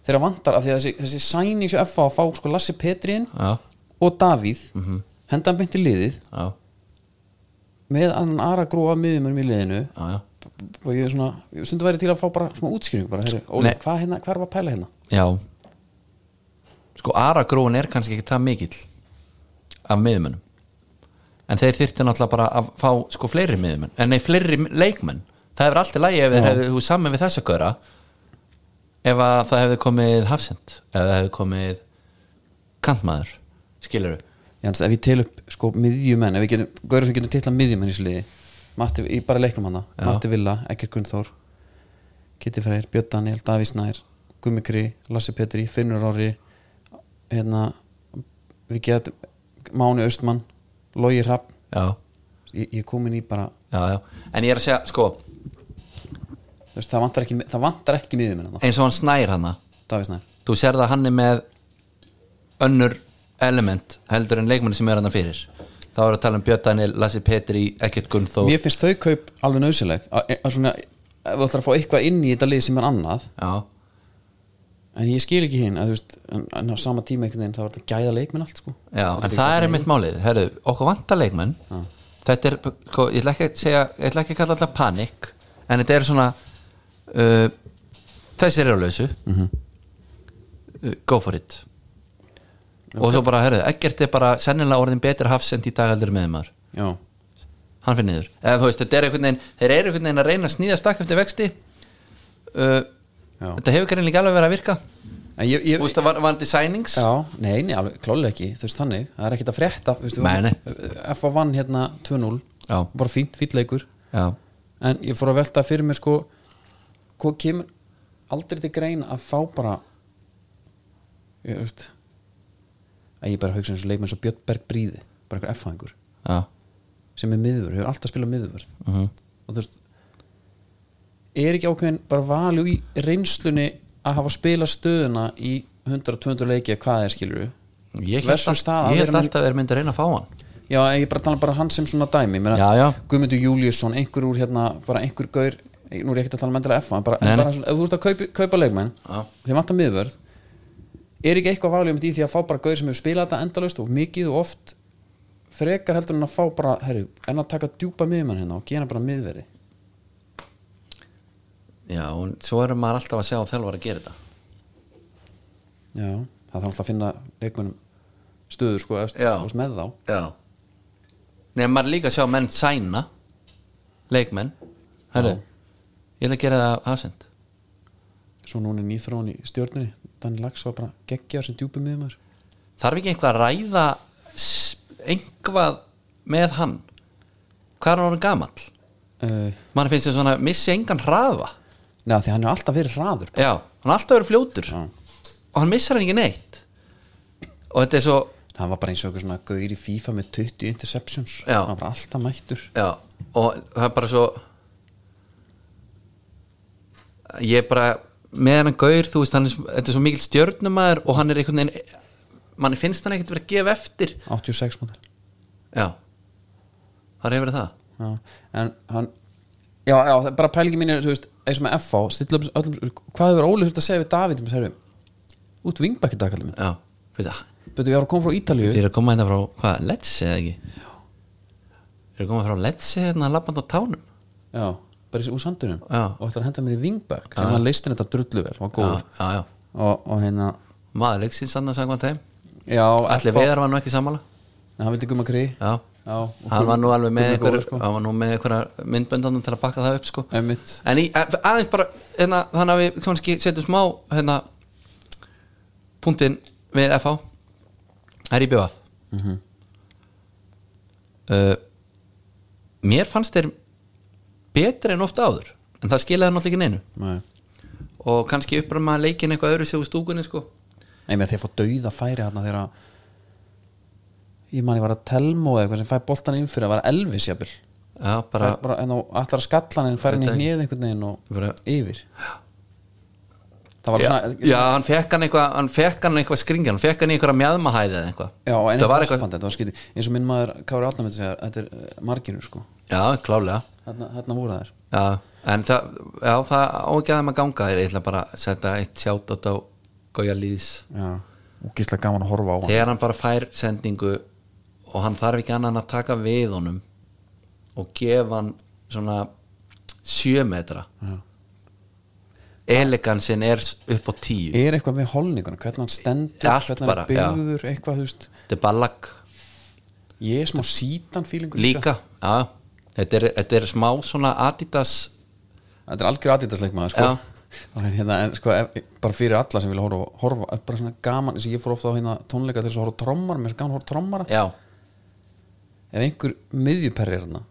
þeirra vantar af því að þessi, þessi sæning sem F.A. að fá sko Lassi Petrin já, og Davíð mm Mhm. -hmm. henda hann beint í liðið já, með annan aðra gróa miðjumenn í liðinu já, já og ég er svona, ég stundum væri til að fá bara svona útskýring bara, herri, Óli, Nei. hvað hérna, hvað er að pæla hérna? Já Sko aragróin er kannski ekki það mikill af miðumunum en þeir þyrfti náttúrulega bara að fá sko fleiri miðumun, en nei fleiri leikmenn það hefur alltaf lægi ef þeir hefðu saman við þess að göra ef að það hefði komið hafsend ef það hefði komið kantmaður, skilur Jans, ef ég tel upp sko miðjumenn ef við getum, Gaurið sem getum titla miðjumenn í sliði Matti, í bara leiknum hana Já. Matti Villa, Ekkert Gunnþór Kitty Freyr, Björn Daniel, Davís Nær Gummi Kri, Lassi Petri, Finnur Orri hérna við getum Máni Austmann Logi Hrapp já, ég, ég er komin í bara, já, já en ég er að segja, sko, þú veist, það vantar ekki það vantar ekki miðjumenn hana, eins og hann snær hana Davís Nær þú sér það að hann er með önnur element heldur en leikmenni sem er hann fyrir þá er að tala um Björn Daniel, Lassi Petri ekkert Gunnþó Mér finnst þau kaup alveg nöðsileg að að svona, ef þú ætlar að fá eitthvað inn í þetta lið sem er annað já, En ég skil ekki hinn að þú veist en, en á sama tíma einhvern veginn þá var þetta gæða leikmenn allt sko Þetta já, en ekki það sagt er nei. mitt málið, herru, okkur vantar leikmenn þetta er, sko, ég ætla ekki að segja ég ætla ekki að kalla alltaf panik en þetta er svona uh, þessir eru á lausu Mhm. uh, go for it og svo bara, herru, ekkert er bara sennilega orðin betur hafsend í dag heldur með maður Já, hann fyrir niður eða þú veist, þetta er einhvern veginn þeir eru einhvern veginn að reyna að snýða stakk eftir vexti uh, já þetta hefur kannski líka alveg verið að virka En ég, þú ég veist, það var, var designings Já, nei, nei, alveg, klálega ekki, þú veist þannig Það er ekkert að frétta, þú veist Nei, nei. F.A. vann hérna 2-0 já, Bara fínt, fínt leikur já, En ég fór að velta fyrir mér sko Hvað kemur aldrei til grein að fá bara Ég þú veist að ég bara hugsa eins og leikmenn svo Björn Berg Bríði bara einhver F.A.-ingur já, sem er miðvörð, hefur alltaf spilað miðvörð Mhm. og þú veist er ekki ákveðin bara valjú í reynslunni að hafa spilað stöðuna í 100-200 leiki eða hvað það er skilur ég held, Versus all, það að ég vera held með- alltaf að vera myndi að reyna að fá hann já, en ég bara tala bara hann sem svona dæmi Ég meina, Já, já. Guðmundur Júliusson, einhver úr hérna bara einhver gaur, nú er ég ekkert að tala um endilega F1 bara, Nei, en nei. bara svona, ef þú ert að kaupa, kaupa leikmenn Já. þeim vantar miðvörð er ekki eitthvað valjú í því að fá bara gaur sem hefur spilað þetta endalaust og mikið og oft frekar heldur en að fá bara herri, en að taka djúpa miðmann hérna og gera bara miðverði já, og svo erum maður alltaf að sjá þjálfar að gera þetta Já, það þarf alltaf að finna leikmönnum stöður sko eftir, Já. eftir með þá já nei, maður er líka að sjá menn sæna leikmenn, herru Já. ég ætla að gera það hafsend Svo núna er nýþróun í stjórninni Danni Lax var bara geggjaður sem djúpi miðumar þarf ekki eitthvað að ræða s- eitthvað með hann hvað er hann orðin gamall uh, mann finnst þér svona missi engan hraða Neða því hann er alltaf verið hraður já, hann er alltaf verið fljótur Já. og hann missar hann ekki neitt og þetta er svo Hann var bara eins og einhver svona gaur í FIFA með 20 interceptions Já. Hann var alltaf mættur já, og það er bara svo ég er bara með hann gaur, þú veist, hann er, svo- þetta er svo mikil stjörnumæður og hann er einhvern veginn mann finnst hann ekkert verið að gefa eftir 86 mótel já það hefur það já, en hann já, já, það- bara pælingi mín er, þú veist, eins og með FH stilla upp öllum, hvað hefur Óli þurft að segja við David um þessu, út vingbækki dagkallum minn, Já, fyrir það betur ég var að koma frá Ítalíu Þið eru að koma hérna frá, hvað, Letsi eða ekki? Já Þið eru að koma frá Letsi hérna lappand á tánum já, bara í- úr sandunum Já. og ætlar að henda mér í vingbæk sem hann leistin þetta drullu vel, var góð Já, já, já og, og hérna, Maður leiksins annars samkvæmt þeim já, Allir FH veðar var nú ekki sammála en hann vildi gumma kri Já Já, og Hann var nú alveg með Gummi einhver, góður, sko. hann var nú með einhverja myndböndanum til að bakka það upp sko Einmitt. En í, a- aðeins bara, hérna, þannig að við kannski setjum smá, hérna punktinn við FH Það er í bjóðað Mhm. uh, Mér fannst þeir betri en ofta áður en það skilaði náttúrulega ekki neinu Nei. og kannski uppröma leikin eitthvað öðru sig úr stúkunni sko Nei, með þeir fá dauða færi hérna þegar að ég man ég var að telmo eða eitthvað sem fæ boltan inn fyrir að vara Elvis jafnvel Já, bara, Fær bara, en á allar skallan en fær hann í Þetta- hnið einhvern veginn og Bara- yfir það var já, svona já, hann fekk hann eitthvað hann fekk hann eitthvað skringi, hann fekk hann í einhverja mjadmahæði eða eitthvað já, en það var eitthvað, eitthvað þetta var skytið eins og minn maður Kári Átnamönd segja þetta er uh, marginu sko já, klálega þarna, þarna voru þær já, en það, já, það á ekki að þeim að ganga þér, ég ætla bara að setja eitt sjátt á Gauja Lýðs já og gísla gaman að horfa á hann þegar hann bara fær sendingu og hann þarf ekki annan að taka við honum og gefa hann svona sjö metra elegansin er s- upp á tíu er eitthvað með holninguna hvernig hann stendur Allt hvernig hann bara, er byggður eitthvað þú veist þetta er ballag ég er smá sítan fílingur líka já, þetta, er, þetta er smá svona Adidas þetta er algjör aðdýttasleikmaður sko. Já. Og hérna, en sko, ef, bara fyrir alla sem vilja horfa, horfa bara svona gaman, þess að ég fór ofta á hérna tónleika til þess að horfa á trommar, mér er svo gaman að horfa á trommara já, ef einhver miðjuperri er hérna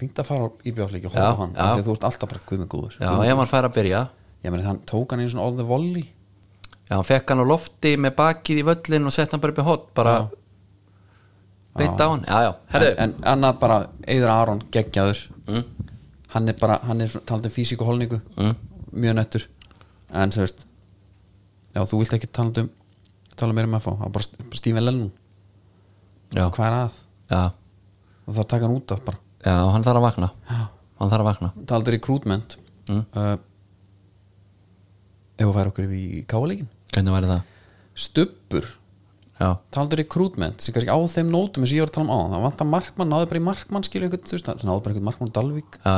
fínt að fara á íbjáfleiki og horfa á Mhm. Já, hann já. af því að þú ert alltaf bara guðmið góður já ef hann fær að byrja ég meni þann tók hann einu svona all the volley já, hann fekk hann á lofti með bakið í völlin og sett hann bara upp í hot bara Já. beint á hann já, já, herðu, en, en annað bara, Eður Aron geggjaður Mm. hann er bara, hann er svona- talandi um físík og holningu mm. mjög nettur en þú veist já, þú vilt ekki tala um tala meira um FH, það er bara St- Stephen Lennon já, hvað er að já, og það taka hann út af bara já, hann þarf að vakna hann þarf að vakna taldur recruitment mm. uh, ef að færa okkur yfir í káleikin hvernig væri það stubbur, já, taldur recruitment sem kannski á þeim nótum eins og ég var að tala um á það vantar markmann, náði bara í markmann skilu einhvern, þú veist, það náði bara einhvern markmann á Dalvík já,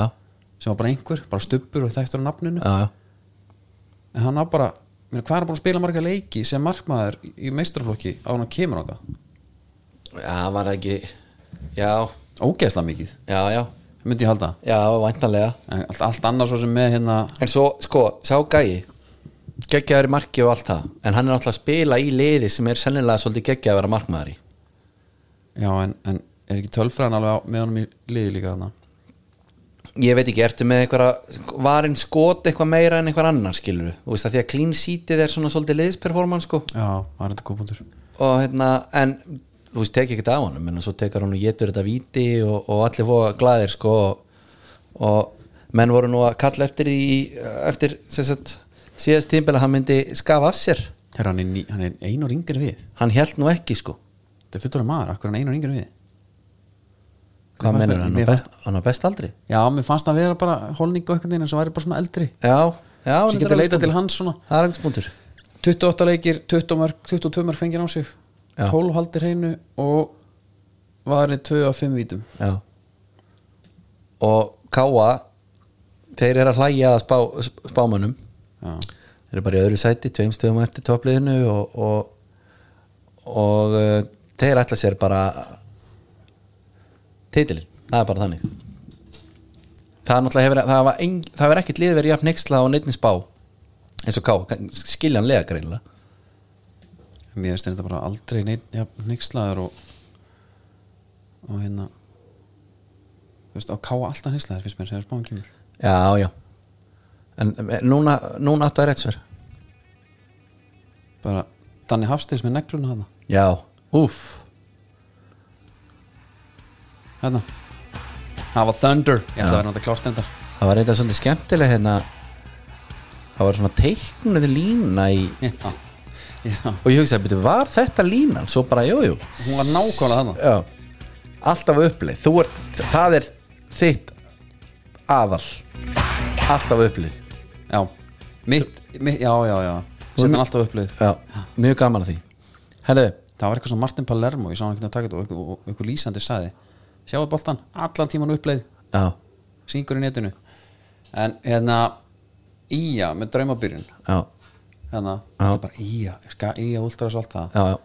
sem var bara einhver, bara stubbur og þættur á nafninu já, já, en hann á bara, mér, hvað er hann búin að spila marga leiki sem markmaður í- í meistarflokki á hann að kemur á það, já, var það ekki já, ógeðslega mikið já, já myndi ég halda, já, væntanlega en allt, allt annars svo sem með hérna, en svo, sko, sá gæi geggjaður í marki og allt það en hann er náttúrulega að spila í liði sem er sennilega svolítið geggjaður að vera markmaður í já en, en er ekki tölfræðan alveg á, með honum í liði líka þarna ég veit ekki, ertu með eitthvað varinn skot eitthvað meira en eitthvað annar skilur þú veist það því að clean seatið er svona svolítið liðsperformance sko já, það er þetta góð punktur og hérna, en þú veist tekið ekkert á hann, menn svo tekar hann og getur þetta víti og, og allir fóða glæðir sko og, og menn voru nú að kalla eftir í eftir sem sagt, síðast tímpel að hann myndi skafa af sér, Herra, hann, er ný, hann er einur yngri en við hann held nú ekki sko Þetta er fullur af maður, akkur er hann einur yngri en við hvað Mér fannst- mennur hann, mér á best, hann á best aldri Já, mér fannst það að vera bara holning og eitthvað einn en svo væri bara svona eldri já, já Svo þetta er getur alveg leitað til spundur. hans svona það er eitthvað spundur 28 leikir, 20 mörg, 22 mörg fengir á sig Já. 12 haldir hreinu og varði 2 af 5 vítum Já Og Káa Þeir eru að hlæja að spá, spámönnum Já, Þeir eru bara í öðru sæti, tveim stöðum eftir toppliðinu og, og, og uh, þeir ætla sér bara titilin, það er bara þannig Það er náttúrulega hefur það var, ein, það var ekkit liðverið jafn nexla á neittni spá eins og Káa, skiljanlega greinlega mér finnst þetta bara aldrei neitt, ja, neikslaður og og hérna þú veist, á káa alltaf neikslaður finnst mér þegar spáin kemur Já, já En eh, núna, núna áttu að rétt sver bara Danni Hafsteins með negluna hana Já, úff hérna það var Thunder, ég ætla að vera náttúrulega klárstendar Það var reynda svolítið skemmtileg hérna Það var svona teiknuð lína í já, já, Og ég hugsaði, betur, var þetta línan? Svo bara, jú, jú hún var nákvæmlega hana Já alltaf á uppleið Þú ert, það er þitt aðal alltaf á uppleið Já, mitt, mitt já, já, já Setna hann alltaf upplið Já, mjög gaman að því Herðu, Það var eitthvað sem Martin Palermo, ég sá hann ekki að taka þetta og einhver- og einhver lýsandi saði Sjáðu boltan, allan tíman uppleið já, Syngur í netinu En hérna, Ía með draumabyrjun já, Hérna, Já. þetta er bara Ía ska, Ía últras allt það já, já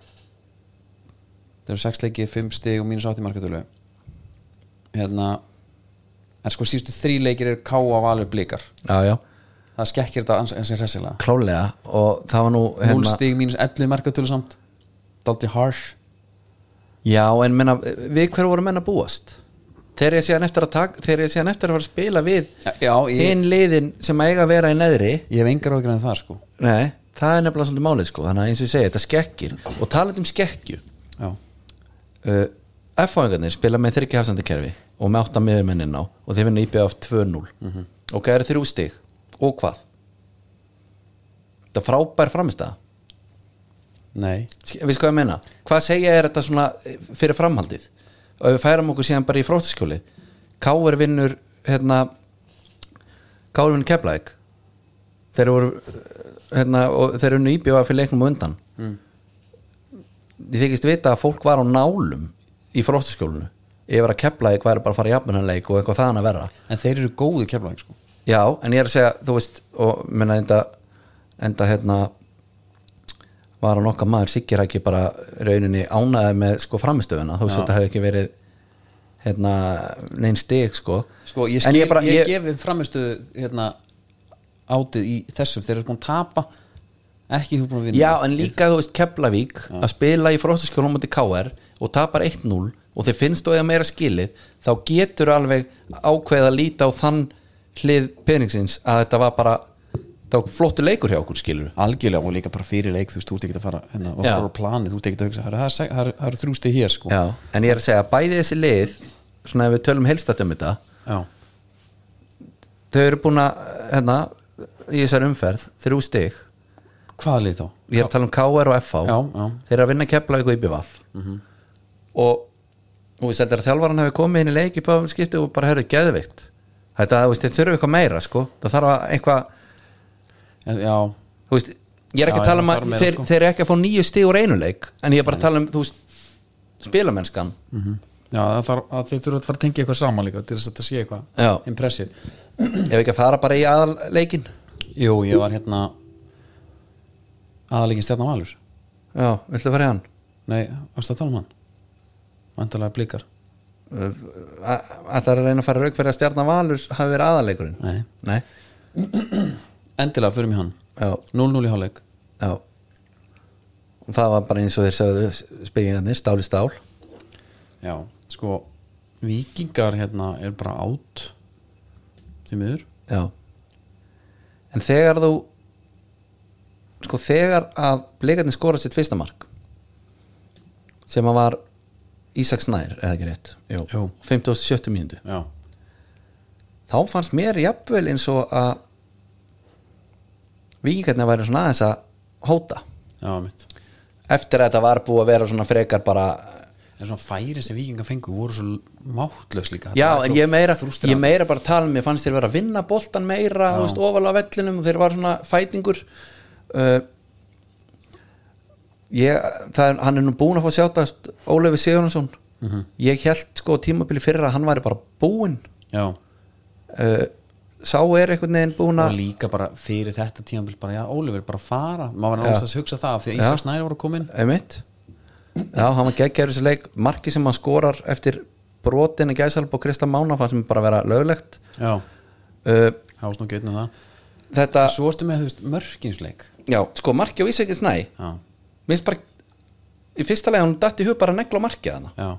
Það eru sex leiki, fimm stig og mínus átti markatölu Hérna En sko síðustu þrý leikir eru káa valur blikar Já, já, Það skekkir þetta ans- ansi hressilega klálega og það var nú hérna. 0 stig mínus 11 markatölu samt Daldi harsh Já, en menna, við hverju voru menna búast? Þegar ég síðan eftir að taka þegar ég síðan eftir að fara að spila við Já, já, ég- hinn liðin sem eiga að vera í neðri Ég hef engar ágjörðan það sko Nei, það er nefnilega svolítið málið sko þannig að eins og ég segi, þetta skekkir og talandi um skekkju Já, uh, F-fáingarnir spila með þryggja hafsendakerfi og með átta miðurmennin á og þeir vinna IBF 2-0 og það eru þrjú stig og hvað þetta er frábær framistæða nei Sk- við sko að meina, hvað segja er þetta svona eh, fyrir framhaldið og við færum okkur síðan bara í fróttaskjóli Káur vinnur hérna Káur vinnur Keflæk þeir voru eh, hérna, og þeir unnu íbjóða fyrir leiknum á undan ég þykist vita að fólk var á nálum í fróttaskjólinu yfir að Keflæk væri bara að fara í jafnunanleik og eitthvað þaðan að verra En þeir eru góðu keflaðing sko Já, en ég er að segja, þú veist og menna enda, enda hérna var hann okkar maður Siggi Rækki bara rauninni ánæði með sko framistöfuna þú veist Já. þetta hefði ekki verið hérna, neinn stig sko Sko, ég, En skil, ég, bara, ég, gefi framistu hérna, átið í þessum Þeir eru búin að tapa Ekki þú búin að vinna Já, en líka þú veist Keflavík að spila í fróstaskjólum múti KR og tapar 1-0 og þeir finnst og eða meira skilið þá getur alveg ákveð að líta á þann hlið peningsins að þetta var bara þá flottu leikur hjá okkur skilur Algjörlega og líka bara fyrir leik Þú veist, þú ert ekki að fara hérna, og Já. fara á planið Þú ert ekki að hugsa, "Herra, það er se- það eru- það eru þrjústi hér sko Já, en ég er að segja að bæði þessi lið svona ef við tölum helstætt um þetta Já. þau eru búin að, hérna í þessari umferð, þrjú stig Hvaða lið þá? ég er að tala um KR og FH Já, Mhm. já. þeir eru að vinna Keflavík og IBVF og þú veist heldur að þjálfaran hefur komið inn í leik í báðum skipti og bara herðu geðveikt þetta, þú veist, þeir þurfu eitthvað meira sko það þarf að eitthvað, En- Já, þú veist, ég er ekki Já, að tala um já, að þarf meira, þeir, sko. þeir eru ekki að fá nýju stig úr einu leik en ég er bara að tala um, þú veist spilamennskan Mm. já það þarf, að þeir þurfa að fara að tengja eitthvað saman líka Til þess að þetta sé Já. eitthvað Impressið ef ekki að fara bara í aðal leikin Jú, ég var hérna Aðalegin stjarnar valur já, viltu að fara í hann? Nei, varstu að tala um hann? Vandalega blikar ætlar að reyna að fara rauk fyrir að stjarnan Valur hafi verið aðalegurinn Nei. Nei. Endilega fyrir mig hann Já, 0-0 í hálfleik já. Og það var bara eins og þeir sögðu spekingarnir, stál í stál Já, sko Víkingar hérna er bara átt Því miður já. en þegar þú sko þegar að blikarnir skora sitt fyrsta mark sem að var Ísaks Nær, eða ekki rétt Jú. Jú. 50.70 mínútu Já, þá fannst mér jafnvel eins og að vikingarnir væri svona aðeins að hóta já, mitt eftir að þetta var búið að vera svona frekar bara En svona færi sem víkingar fengu voru svo máttlaus líka Þetta já, var en svo ég meira, frústrerandi. ég meira bara að tala um mér fannst þeir vera að vinna boltan meira þú veist, ofalega á vellinum og þeir var svona fætingur uh, ég, það, er- hann er nú búin að fá sjátt Ólefi Sigurðarsson Mhm. ég held sko tímabili fyrir að hann væri bara búinn Já, uh, sá er einhvern veginn búin og að líka bara fyrir þetta tíðanbíl bara, já, Ólifur, bara fara Maður var Já. náttúrulega að hugsa það af því að Já. Ísak Snæri voru komin einmitt já, hann var geggjæður þessi leik marki sem hann skorar eftir brotin í gæsalp og Kristján Mána fannst mér bara að vera löglegt Já, uh, það var svona gætna um það þetta Svo ertu með, þú veist, mörkinsleik Já, sko, marki á Ísækins næ Já, minnst bara í fyrsta lega hún datt í hug bara að negla markið hana já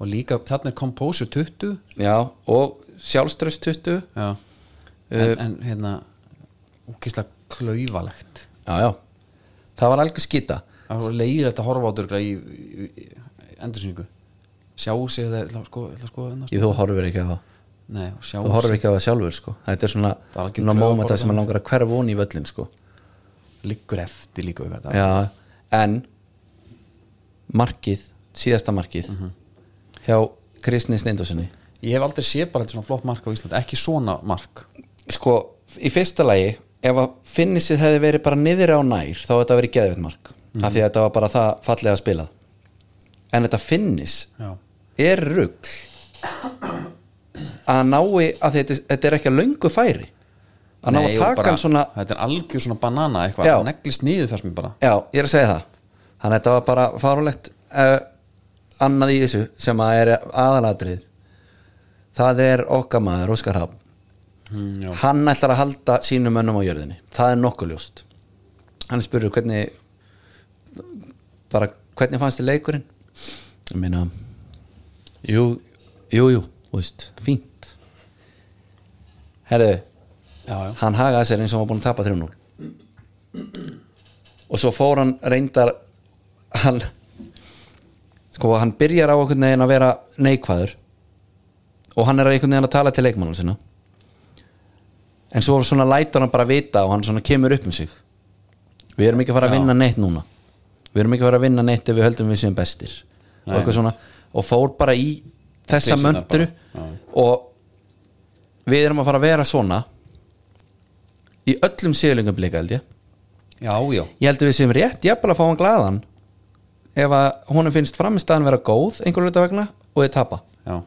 Og líka, þarna er Composer 20 Já, og sjálfströst 20 Já En, en hérna, úkislega klaufalegt Já, já, það var algjör skýta Það var leiðir þetta horfa á dörgla í, í, í endursynningu Sjá sig það, það sko, það sko ennast, Ég þú horfir ekki á það Nei, og sjá Þú horfir ekki á það sjálfur, sko Þetta er svona, Það er algjör svona klaufaborg mómenta sem þarna. að langar að hverfa hún í völlin, sko Liggur eftir líka við þetta Já, Mhm. en markið, síðasta markið hjá Kristni Steindosinni Ég hef aldrei séð bara þetta svona flott mark á Íslandi Ekki svona mark sko, í fyrsta lagi ef að finnisið hefði verið bara niður á nær þá hefði þetta verið geðvitt mark af Mhm. því að þetta var bara það fallega að spila en þetta finnis Já. er rugg að nái að þetta, þetta er ekki að löngu færi að ná Nei, að og taka bara- hann svona Þetta er algjör svona banana Já. eitthvað Neglist niður þar sem bara já, ég er að segja það þannig að þetta var bara farulegt uh, annað í þessu sem að er aðalatrið það er okkar maður, Óskar Hafn mm, já. hann ætlar að halda sínum mönnum á jörðinni það er nokkuð ljóst hann spurur hvernig bara hvernig fannst þið leikurinn ég meina jú, jú, jú, þú veist fínt herðu, Já, já. hann hagaði sér eins og hann var búin að tapa 3-0 og svo fór hann reyndar hann sko, hann byrjar á einhvern veginn að vera neikvæður og hann er einhvern veginn að tala til leikmannum sinna en svo svona lætur hann bara vita og hann svona kemur upp um sig við erum ekki að fara að Já. vinna neitt núna við erum ekki að fara að vinna neitt ef við höldum við séum bestir og, Nei, eitthvað svona, og fór bara í þessa Klisjurnar möndru bara, já. og við erum að fara að vera svona í öllum síðlingum blika held ég já, já ég held að við séum rétt, ég að fá hann glaðan ef að honum finnst framistæðan vera góð einhverju hluta vegna og þið tapa Já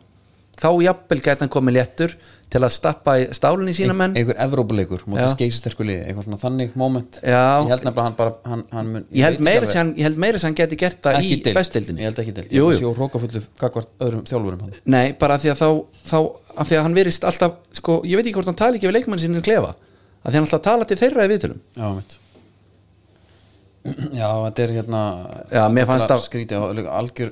þá jafnvel gæti hann komið léttur til að stappa í stálinn í sína menn einhver Evrópuleikur, mótið Já. skeisasterku liði eitthvað svona þannig moment Já. ég held nefnilega hann bara hann, hann mun, ég held veit meira ekki sem hann, ég held meira sem hann geti gert það alveg- í ekki deild. bestildinni ég held ekki deild, Jú, ég jú. sé og hrókafullu gagvart öðrum þjálfurum hann. Nei, bara af því að þá, þá af því að hann verist alltaf, sko, ég veit ekki hvort hann tala ekki við leikmann sinni í klefa, af því að hann alltaf tala til þeirra í viðtölum. já, mitt já, þetta er hérna Já, mér fannst þetta það- skrítið og líka algjör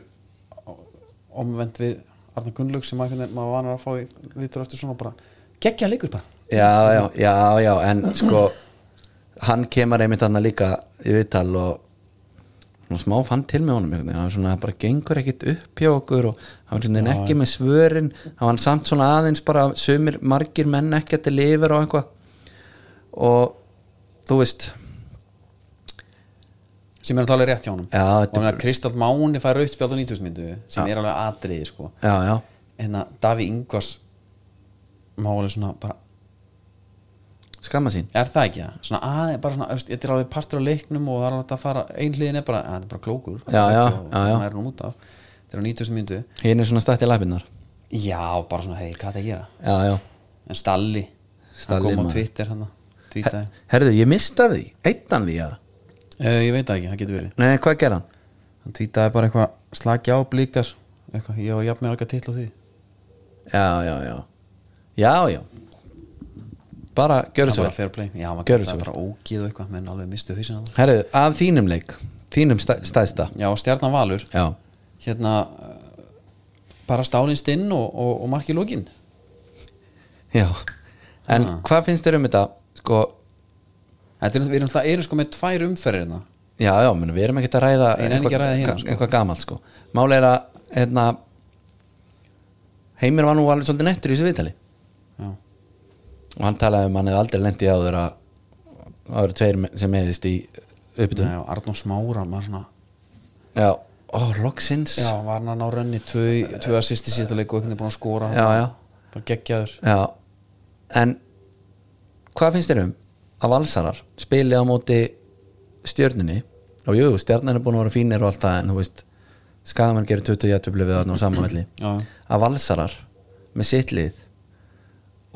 omvend við Arnar Gunnlaug sem maður einhvern veginn- maður var vanar að fá í vitur eftir svona bara geggja leikur bara Já, já, já, já, en sko hann kemur einmitt hann líka í viðtal og og smá fann til með honum einhvern veginn. hann var svona bara gengur ekkit upp hjá okkur og hann var einhvern veginn ekki með svörin hann var samt svona aðeins bara sumir margir menn ekki að til lifir og einhvað og þú veist sem er náttúrulega rétt hjá honum Já, og þetta- hann að Kristall Máni fær rautt spjátt á 90 myndu sem er alveg atriði sko já, já, hérna Daví Ingvars máli svona bara skamma sín er það ekki það? Svona aðeins, bara svona, veist, þetta er alveg partur á leiknum og það er alveg að fara, einhliðin er bara, að þetta er bara klókur Já, já, og, já, já. hann er nú út af, þetta er á 90. myndu hinn er svona stætt í lafinnar já, bara svona, hei, hvað það gera já, já en Stalli, Stalli, hann kom maður. á Twitter hann, tweetaði, Herðu, ég mista því, eittan því að uh, ég veit það ekki, það getur verið Nei, hvað gerði hann? hann tweetaði bara eitthvað, slagi á blíkar eitthvað, ég og jafn mér alveg til á því Já, já, já Já, já Bara, gjörðu það svo bara vel. fair play, já, maður getur Gjörðu svo það bara ógið og eitthvað, menn alveg mistu hausina Herðu, að þínum leik Þínum stæ, stæðsta já, og stjarnan Valur Já, hérna uh, bara stálinst inn og, og, og marki lókin já En Ah. hvað finnst þér um þetta? Sko, þetta er, við erum, alltaf- erum sko með tvær umferðina já, já, menn, við erum ekkert að ræða Ég nenni ekki að ræða hérna, sko. Eitthvað gamalt, sko Máli er að, hérna Heimir var nú alveg svolítið nettur í þessu viðtali já Og hann talaði um að hann hefði aldrei lent í áður að Það eru tveir me- sem meðist í uppbytum Nei, og Arnó Smára maður svona, Já, ó, loksins já, var hann að ná rönni tvö, tvö assist í síðuleik og einhvern veginn búin að skora já, já. bara geggjaður Já. En hvað finnst þér um að valsarar spili á móti stjörnunni og jú, stjörnun er búin að vera fínir og allt það en þú veist, skagamann gerir 20 jættöflu við þarna á samanvelli Já. að valsarar með sitt lið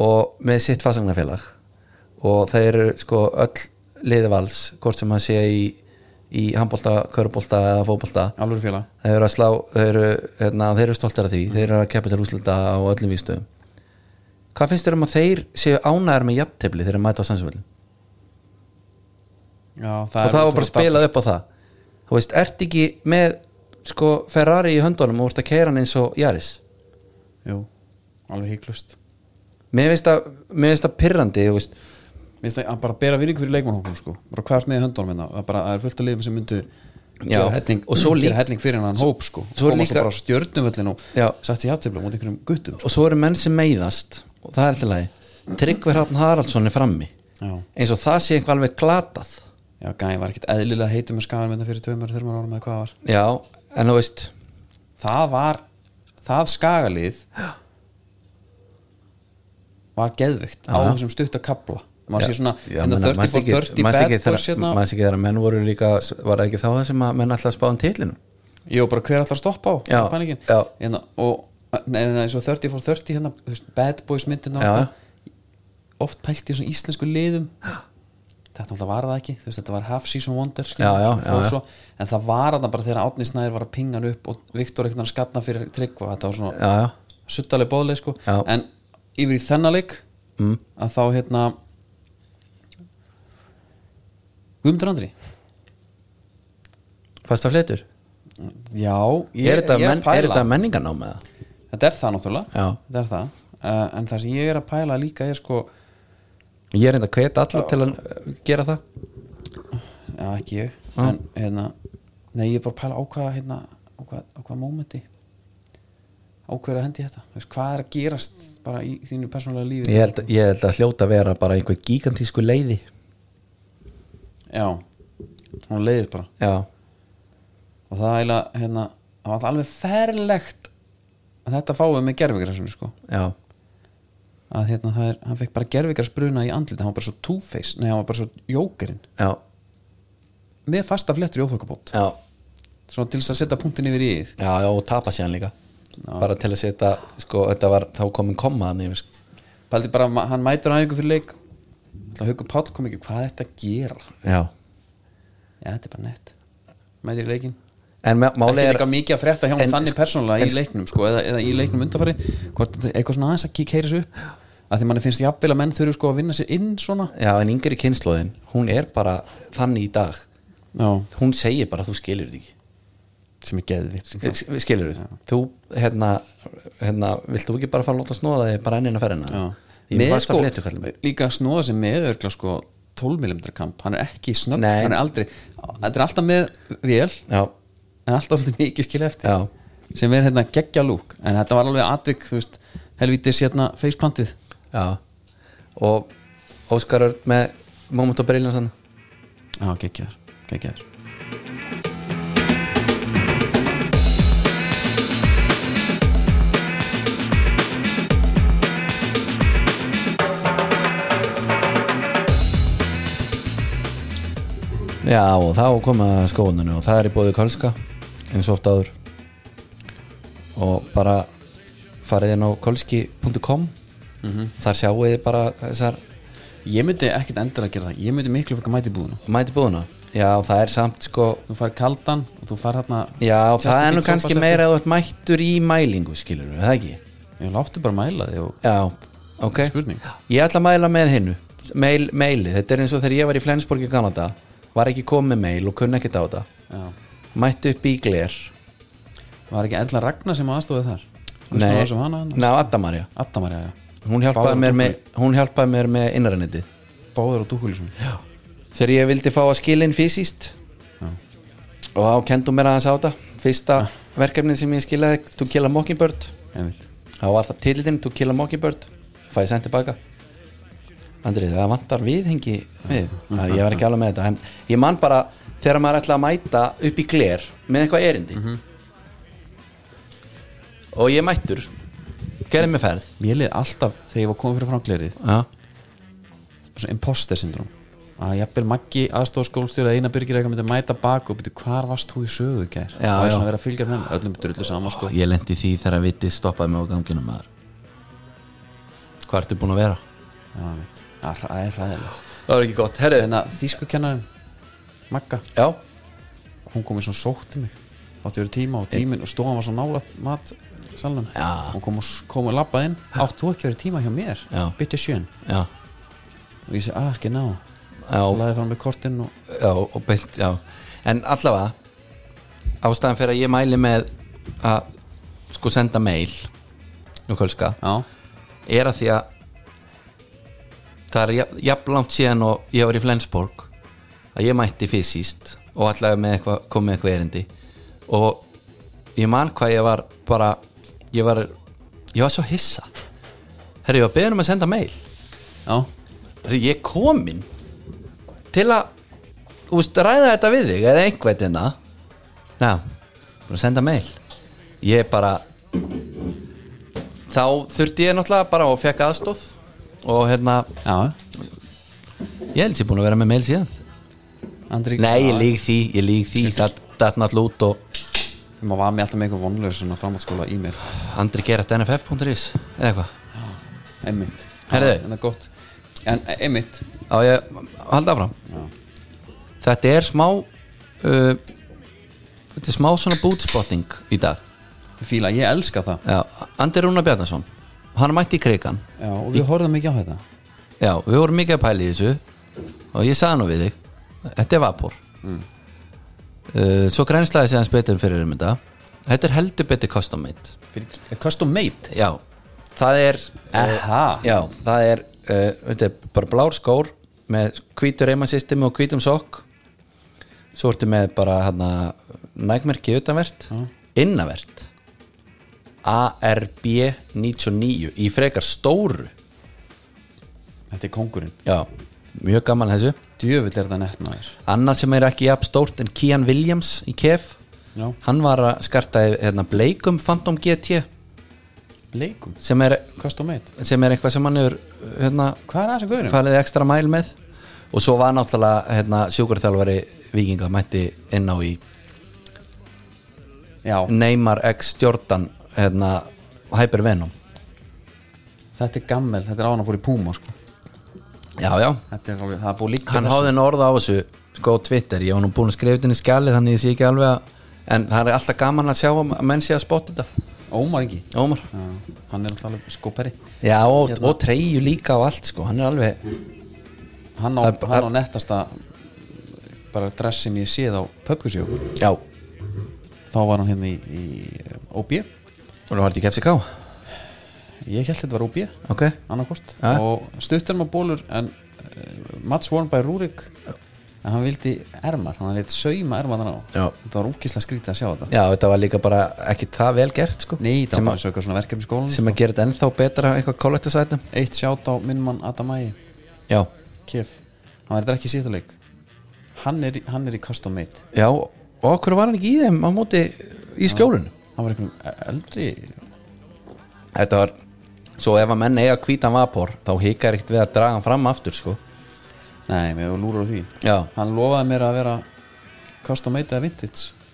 og með sitt fasangnafélag og það eru sko öll liði vals, hvort sem maður sé í í handbólta, körubólta eða fótbólta alvöru félag þeir eru að slá þeir eru, hérna, þeir eru stoltir af því þeir eru að keppa til úslita á öllum vístöðum hvað finnst þér um að þeir séu ánæður með jafntefli þegar þeir mæta á sannsvöldin já, og það var bara spilað upp á það þú veist, ert ekki með sko Ferrari í höndunum og ert að keira hann eins og Jaris jú, alveg híklust mér finnst það, mér finnst það pirrandi þú veist, minnst það að bara bera virðing fyrir leikmannhókum sko. bara hvað er með í höndunum hérna það er bara, það er fullt af liðum sem myndu Já, gera helling, og svo líka- gera helling fyrir hann hóp sko. svo koma líka- svo bara á stjörnumöllin og Já. satt sér játtifla mútið einhverjum guttum sko. og svo eru menn sem meiðast og það er alltaf lagi Tryggvi Hrafn Haraldsson er frammi já, eins og það sé eitthvað alveg glatað já gæði var ekkit eðlilega hérna heitum með skagan fyrir tveimur, þurmur árum eða hvað var já, en þú veist það var það skagalið var geðvikt á Já. þessum stutt að kabla maður sé svona Já, hérna menna, 30 manstu for ekki- 30 manstu bad ekki boys þegar- hérna manstu ekki þegar menn voru líka var það ekki þá það sem að um menn alltaf spáðum titlinu Jó, bara hver ætlar að stoppa á Já, panikinn já. hérna, og nefnir eins og 30 for 30 hérna, þú veist, bad boys myndin Já. oft pælt í svona íslensku liðum þetta alltaf var það ekki þú veist, þetta var half season wonder skilur, Já, já, og fór já, já. svo, en það var þarna bara þegar Átni Snæður var að pinga hann upp og Viktor ekkert að skatna fyrir tryggva þetta var svona já, já, suttaleg bóðleg sko Já. en yfir í þennaleik Mm. að þá hérna Guðmundur Andri fast á fletur já, ég, er þetta, ég menn, er pæla þetta menningarnám eða? þetta er það náttúrulega Já. þetta er það uh, en það sem ég er að pæla líka er sko ég er enda að hveta alla til að eh, gera það já ekki ég en hérna nei ég er bara að pæla á hvað hérna á hvað, á hvað mómenti á hverju að hendi ég þetta Þú veist, hvað er að gerast bara í þínu persónulega lífi ég held, ég held að hljóta að vera bara einhver gigantísku leiði já hún leiðist bara já, og það er eiginlega, hérna, það var alltaf alveg ferlegt að þetta fáið með gerfigrassinu sko já, að hérna, það er, hann fekk bara gerfigrassbruna í andlita, hann var bara svo two-face nei, hann var bara svo jókerinn já, með fasta flettur í óþokkabót já svona til þess að setja punktin yfir í íð já, já, og tapa sér hann líka bara til að setja, sko, þetta var þá komin komaðan yfir, sko. Paldi bara, ma- hann mætur aðeins fyrir leik Það haukur Páll kom ekki, hvað er þetta að gera? já Já, þetta er bara nett Mætir í leikin en ma- Ekki málið er eitthvað mikið að frétta hjá En- hann þannig persónulega en- í leiknum sko, eða, eða í leiknum undarfæri hvort þetta- eitthvað svona aðeins að kík heyri upp að því manni finnst jafnvel að menn þurfi sko að vinna sér inn svona já, en yngri kynnslóðin, hún er bara þannig í dag, Já, hún segir bara þú skilur þetta ekki sem er sko. geðvitt Sk- skilur við, þú hérna, hérna, vilt þú ekki bara fara að láta snóða þig bara ennina ferðina ég Með er fast sko, að flétu kallum mig líka að snúa sem með örgla sko 12 mm kamp, hann er ekki snögg Nei. hann er aldrei, þetta er alltaf með vél, já, en alltaf svolítið mikið skil eftir já, sem er hérna geggja lúk en þetta var alveg atvik, þú veist helvítis hérna faceplantið já og Óskar Örn með moment og briljansan Já, geggjaður, geggjaður já, og þá koma skóðuninu og það er í bóðu Kölska eins og oft áður og bara farið inn á kolski.com Mhm. þar sjáu þið bara þessar Ég myndi ekkit endur að gera það, ég myndi miklu fyrir að mæti búðuna mæti búðuna já, það er samt sko Þú fær kaldan og þú fær hérna já, Justin það er nú Bieber kannski sófasetti. meira að þú ert mættur í mælingu skilur við, það ekki Ég láttu bara að mæla þig og Já, ok Spurning. Ég ætla að mæla með hinnu mail, maili, þetta er eins og þegar ég var í Flensborg í Kanada Var ekki komið mail og kunni ekkert á þetta Já. Mætti upp í gler var ekki Erla Ragnar sem aðstofið þar Nei, sem hana, hana. Nei, Addamarja Attamarja, já, Hún hjálpaði Báðar mér og með, hún hjálpaði mér með innrænetti báður og dúkulisum Já, Þegar ég vildi fá að skila inn fysiskt Já. Ah. Og þá kendum mér aðeins á þetta Fyrsta verkefnið sem ég skilaði To kill a mockingbird einmitt Þá var það tilitinn To kill a mockingbird Fæði sent tilbaka Andrið, það vantar viðhengi við Það er- Ég var ekki alveg með þetta en Ég man bara þegar maður ætla að mæta upp í gler Með eitthvað erindi Og ég mættur Gerði mig ferð Mér leið alltaf þegar ég var komið fyrir franglerið Já, svona imposter syndrom að jafnvel Maggi aðstofskólstjóri eða eina byrgir eitthvað myndi mæta bak og byrja hvar varst þú í sögu í gær Já, og er já. svona að vera að fylgja með mér, öllum drullu sama sko Ég lendi því þegar að viti stoppaði mig á ganginum maður Hvað ertu búin að vera? Já, einmitt. Það er- það er ræðilega Það var ekki gott, hérna. herri En að þýskukennarinn Magga, Já, hún kom í svona sótti mig átti verið tíma og tíminn og stóðan var svo nálat mat salnum Já. hún kom og, s- kom og labbað inn átt þú ekki verið tíma hjá mér Já. bytti sjön já, og ég segi að ekki ná og já, laði fram með kortinn og já, og beint, já En allavega Ástæðan fyrir að ég mæli með að sko senda mail og kölska já, er að því að það er jafn- jafn langt síðan og ég var í Flensborg að ég mætti fysiskt og allavega með eitthvað, kom með eitthvað erindi og ég man hvað ég var bara, ég var ég var svo hissa herri, ég var beðin um að senda mail já, herri, ég er komin til að þú veist, ræða þetta við þig eða einhvern veginn að senda mail ég er bara þá þurfti ég náttúrulega bara og fekk aðstóð og hérna, Já, ég held sér búin að vera með mail síðan Andri Nei, ég lík því, ég lík því Það er náttúrulega út og Maður var með alltaf með eitthvað vonlega svona framhaldsskóla í mér andrigerat.nff.is eða eitthvað Einmitt Herðu. Já, En það er gott En e- einmitt á ég að halda áfram Já. þetta er smá uh, þetta er smá svona bootspotting í dag Fíla, ég elska það já, Andi Rúna Bjarnason hann mætti í krigan Já, og við horfðum ekki á þetta já, við vorum mikið að pæla í þessu og ég sagði nú við þig þetta er vapor uh, svo grænslaði séðan betur fyrir um þetta þetta er heldur betur custom made Fyrir, eh, Custom made Eh, já, það er Aha já, það er uh, þetta er bara blár skór með hvítur reymasystemi og hvítum sokk svo ertu með bara hana, nægmerki utanvert innavert ARB 99 í frekar stóru Þetta er kongurinn já, mjög gaman að þessu Djöfull er það nett maður annað sem er ekki jafn stórt en Kian Williams í KF Já. hann var að skarta í, hérna, bleikum Phantom GT Bleikum sem er, Custom made sem er eitthvað sem hann er hérna, Hvað er það sem guðurinn? farið ekstra mæl með og svo var náttúrulega hérna, sjúkurþjálfari vikinga mætti inn á í Já, Neymar X Jordan hérna, Hyper Venom þetta er gammel Þetta er án að fór í Puma sko já já, Þetta er alveg, það er búið líka hann háði en orða á þessu sko á Twitter, ég var nú búin að skrifa þetta inn í skjalið þannig ég sé ekki alveg að en það er alltaf gaman að sjá að menn sé að spotta þetta Ómar ekki Ómar, Já, hann er alltaf alveg skóperi já og, Hérna. og treyju líka og allt sko, hann er alveg Hann á, Það er- hann á nettasta bara dress sem ég séð á Pöpkusjókur já, og þá var hann hérna í, í OB ég nú var þetta í KFCK held þetta var OB ok, annarkort Ja. og stuttur maður bólur en uh, Mats worn by Rúrik en hann vildi ermar, hann leitt sauma ermar á Já. þetta var úkislega skrítið að sjá þetta já þetta var líka bara ekki það vel gert sko nei, það sem, var að- bara sögur svona verkefni í skólan sem að gera þetta ennþá betra eitthvað kollektisætum eitt sjátt á minn mann Adamæi Já, Kef, hann er þetta ekki síðuleik hann er, í- hann er í custom made já og okkur var hann ekki í þeim á móti í skjólun hann var einhvern eldri Þetta var, svo ef að menn eiga hvítan vapor þá hikar ekkert við að draga hann fram aftur sko nei, við erum lúrar á því Já, hann lofaði mér að vera custom made eða vintage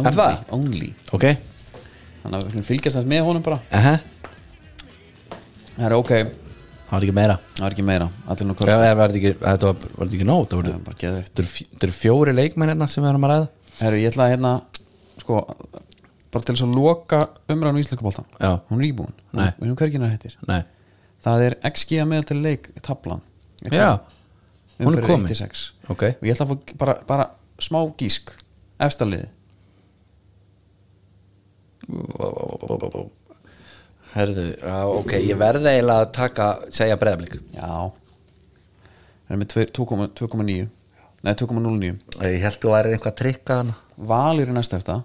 only, það? only. ok þannig að við skulum fylgjast hans með honum bara Aha. það er ok, Það var ekki meira það er ekki meira allir nú Já, kvöld, eða var þetta ekki, þetta var, var þetta ekki nóg Það voru- það er bara geðveikt þetta eru fj- þetta eru fjóri leikmenn hérna sem við erum að ræða Herru, ég ætla að hérna sko, bara til þess að loka umræðan í Íslandska boltan, Já. hún er íbúin Nei. og hún hverginna hættir Nei, það er XG að meðal til leik tablan já, hún er Umferð komin 1-6. Ok, og ég ætla að fá bara, bara smá gísk efstaliði, herðu, já, ok Ég verði eiginlega að taka, segja breyðablík já það er með tveir- 2,9 nei 2,09 Ég held þú væri einhvað að trikka hana Valur er næst eftir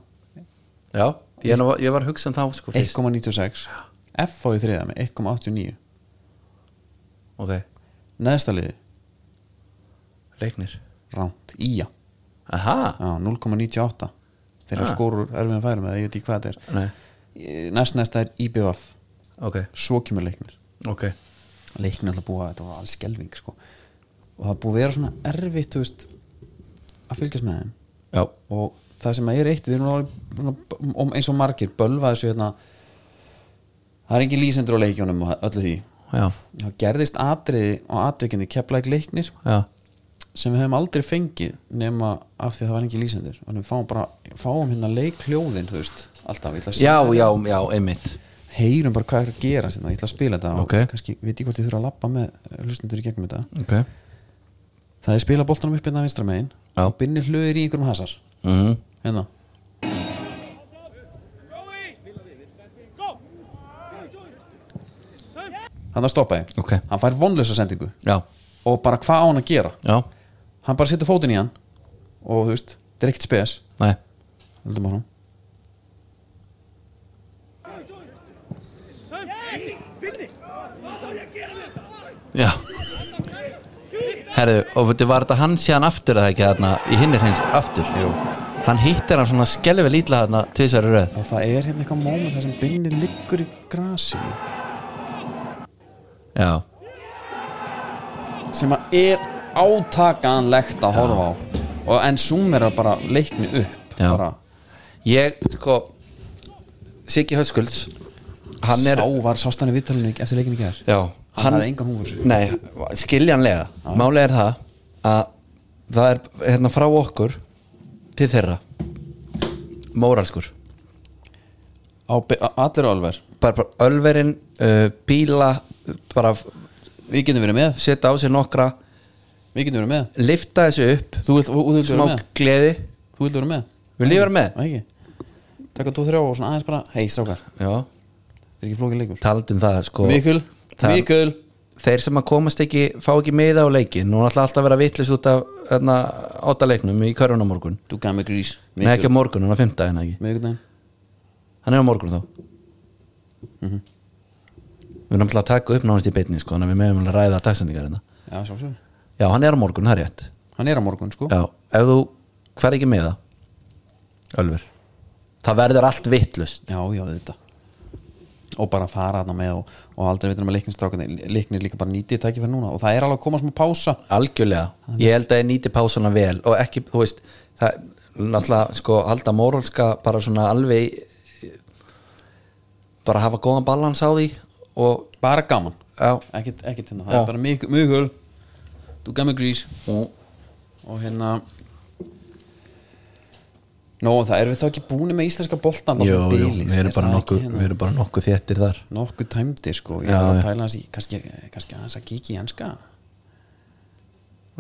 Já, ég, nú- ég var að hugsa um þá sko fyrst 1,96 F á í þriða með 1,89 Ok, neðstaliði, leiknir ránt, ía Aha, Já, 0,98 þeirra Ah. skórur erfiðan færum eða ég veit ekki hvað þetta nei, er næst næsta er IBF ok, svo kemur leiknir ok leiknir alltaf búið að þetta var alls skelving sko. og það er búið að vera svona erfitt þú veist, að fylgjast með þeim Já, og það sem er eitt við erum alveg svona- um- eins og margir bölvað þessu hérna það er engin lýsendur á leikjónum og öllu því já, það gerðist atriði og atvikindi keplæk leiknir já, sem við hefum aldrei fengið nema af því að það var engin lýsendur og við fáum bara, fáum hérna leikljóðin þú veist, alltaf, ég ætla að já, segja- já, já, einmitt heyrum bara hvað er að gera sinna, ég ætla að spila þetta Ok. og kannski, veit ég hvort ég þurfa að labba með hlustendur í gegnum þetta Ok það er spila boltanum upp innan vinstra megin Já. og binni hlöðir í einhverjum hasar mm. hérna, hann það stoppaði Ok, hann fær vonlösa sendingu já, og bara hvað á hann að gera já, hann bara setur fótinn í hann og þú veist, þetta er ekkert spes nei heldum á hann Já Herðu, og veitir, var þetta hann síðan aftur eða ekki þarna í hinni hreins aftur? Jú hann hittir hann svona skelvel ítla þarna tvisar í röð og það er hérna eitthvað móment þar sem Binni liggur í grasinu já, sem að er átakanlegt að horfa á og en Zoomer er bara leikni upp Já. bara ég sko Siggi Höskulds hann er sá var sástæðan í vitalinu eftir leikinu gær já, hann er engan húfur Nei, skiljanlega Málið er það að það er hérna frá okkur til þeirra móralskur á be- á- allir og alver bara, bara ölverin, uh, bíla bara f- við getum verið með setja á sig nokkra við getum verið með lifta þessu upp, þú vilt, þú, þú vilt smá vera með gleði þú vilt vera með Vil ég vera með? Nei, ekki taka 2-3 og svona aðeins bara hei strákar Já, þetta er ekki flókið leikur talandi um það sko Mikul það- Mikul Þeir sem að komast ekki, fá ekki meða á leikin og náttúrulega alltaf að vera vitlis út af hérna, áttaleiknum í körfuna á morgun þú gaf mig grís Nei, ekki á morgun, hann er á fimmtaginn ekki miðvikudaginn hann er á morgun þá Mhm. við erum alltaf að taka upp nánast í beinni sko, þannig að við meðum að ræða dagsendingar hérna. já sjálfsög já, hann er á morgun, það er rétt hann er á morgun sko já, ef þú hver ekki með það Ölfur, það verður allt vittlust Já, já, auðvitað og bara fara hana með og, og aldrei veitur með leiknistrákan leiknir líka bara nýtið tækifæri núna og það er alveg að koma smá pása algjörlega, ég held að ég nýti pásana vel og ekki, þú veist það er náttúrulega, sko, halda moralska bara svona alveg í- bara hafa góðan balans á því og bara gaman, já, ekkert, ekkert hérna það Já. er bara mjög, mjög hul þú gaf mig grís og og hérna Nó, það erum við þá ekki búin með íslenska boltan á jú, svona jú, bili, við erum er bara það nokkuð ekki hérna við erum bara nokkuð þéttir þar nokkuð tæmdi sko, ég Já, var að já. pæla hans í kannski, kannski aðeins að kíkja í enska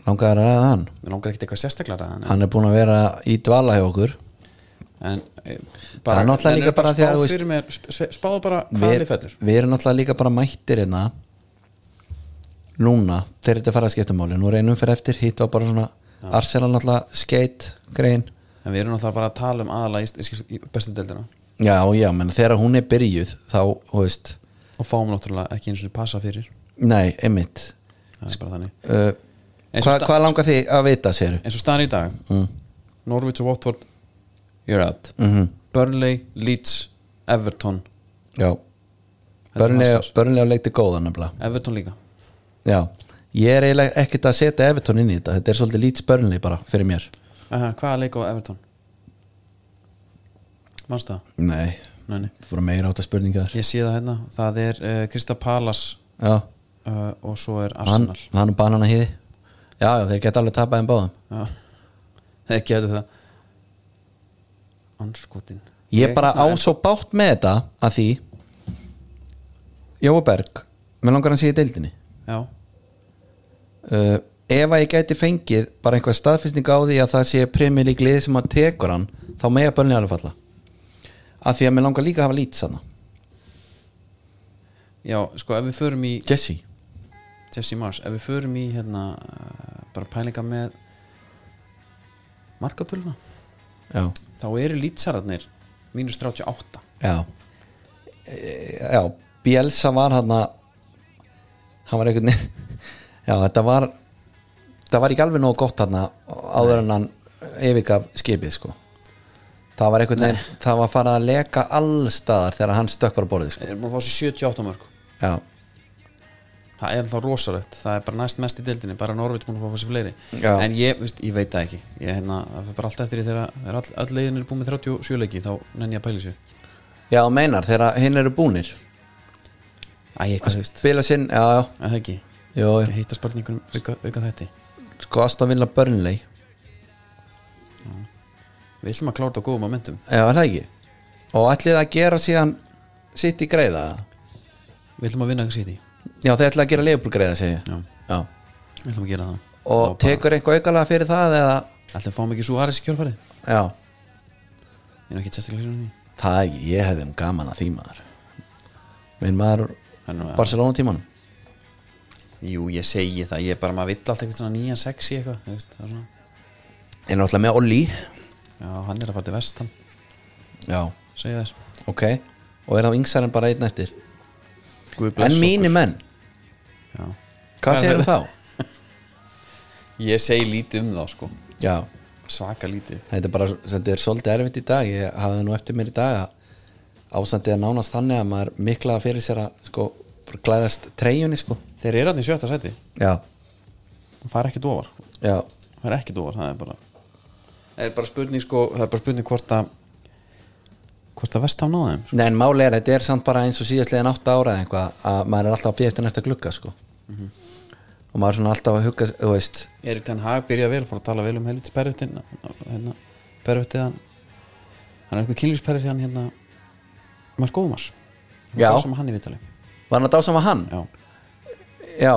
langaði að ræða hann mér langar ekkert eitthvað sérstaklega en, hann er búin að vera í dvala hjá okkur en eh, Það er náttúrulega en líka bara því að, þú spáð veist- fyrir mér, sp- sp- spáð bara hvað við, er fellur við erum náttúrulega líka bara mættir hérna núna þegar þetta fara að skipta máli nú reynum fyrir eftir, hitt var bara svona Arsenal náttúrulega, skate, grein En við erum náttúrulega bara að tala um aðalega í, í, í bestu deildina já, já, menn þegar hún er byrjuð þá, þú veist, og fáum náttúrulega ekki eins og passa fyrir nei, einmitt það er bara þannig uh, Eins hva, og sta- hvað langar þig að vita, séru? eins og staðan í dag, Mm. Norwich og Watford you're out Mm Burnley, Leeds, Everton já, Þetta er Hazard. börnlega leikti góða nefnilega Everton líka já, ég er eiginlega ekkert að setja Evertón inn í þetta, þetta er svolítið lít spörnlega bara fyrir mér Aha, hvað er leik á Everton? Manstu það? nei, Nei, nei. það voru meira átt að spurninga þar Ég sé það hérna, það er uh, Krista Palas já, uh, og svo er hann, Arsenal hann og banana hýði já, já, þeir geta alveg tapað en báðum Já, þeir getur það Anskotin ég bara á svo bátt með þetta að því Jóa Berg mér langar hann sé í deildinni Já, uh, ef að ég gæti fengið bara einhver staðfisning á því að það sé premjör í gliði sem að tekur hann þá mega bönni alveg falla að því að mér langar líka að hafa lít sanna já, sko ef við förum í Jesse Jesse Mars, ef við förum í hérna eh, bara pælinga með markatöluna já, þá eru lýtsararnir mínus 38 já E, já, Bielsa var hann að hann var einhvern veginn já, þetta var það var ekki alveg nóg gott hann áður en hann yfirgaf skipið sko það var einhvern veginn, það var farið að leka allstaðar þegar hann stökkvar á borðið sko þeir eru búin að fá sér 78 mörg já, það er þá rosalegt, það er bara næst mest í deildinni bara Norvits búin að fá sér fleiri Já. en ég, veist, ég veit það ekki ég, hérna, það fyrir bara allt eftir því þegar þegar all, all leiðin er búin með 37 leiki þá nenni ég að pæli sér já þú meinar, þegar hinn eru búnir Æ, eitthvað þú veist, spila sinn, já, en það ekki já, já, ekki hitta sparningunum auka, auka þetta já sko Aston Villa Burnley við ætlum að klára þetta á góðum momentum já, er það ekki og ætlið þið að gera síðan sitt í greiða eða? við ætlum að vinna að sýti já, þeir ætlið að gera leifbúl greiða segja Já. já við ætlum að gera það og tekur eitthvað aukalega fyrir það eða, ætlum að fá mikið svo aðeins í kjölfarið já, Ég er ekki sérstaklega hrifin af því það ekki, ég hefði um gaman að því maður minn maður Það er nú- Barcelona tíman Jú, ég segi það, ég er bara maður vill alltaf eitthvað svona nýjan sexi eitthvað þú veist, það er svona. er náttúrulega með Olli Já, hann er að fara til vestan já, segja þess ok, og er þá yngsar en bara einn eftir Guð bless en okkur. mínir menn, Já. hvað segir þá? Ég segi lítið um þá sko já, svaka lítið þetta er bara þetta er svolítið erfitt í dag ég hafði nú eftir mér í dag að ásandið er nánast þannig að maður miklaða fyrir sér að sko bara klæðast treyjunni sko þeir eru hann í sjötta sæti, já, það fara ekkert ofar já, það er ekkert ofar, það er bara það er bara spurning sko, það er bara spurning hvort að hvort að vestam náða þeim sko. nei en máli er þetta er samt bara eins og síðastliðin átta ára eða eitthvað að maður er alltaf að býja eftir næsta glugga sko og maður er svona alltaf að hugga þú veist, Erik Ten Hag byrjaði vel, fór að tala vel um helviti pervertin hérna, pervertið hann hann er eitthvað kynlýspervertið hann hérna Mark Ómars Já. sem hann í vitali var hann að dásama hann Já. já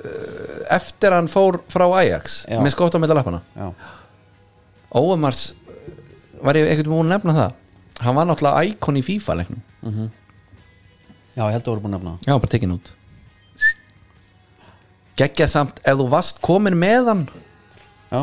Eh, eftir hann fór frá Ajax Já. með skótt á meðal lappana Já. Óemars var ég ekkert múin að nefna það hann var náttúrulega íkon í FIFA leiknum Já, ég held að voru búin að nefna það. já, bara tekin út geggjað samt, ef þú varst komin með hann Já,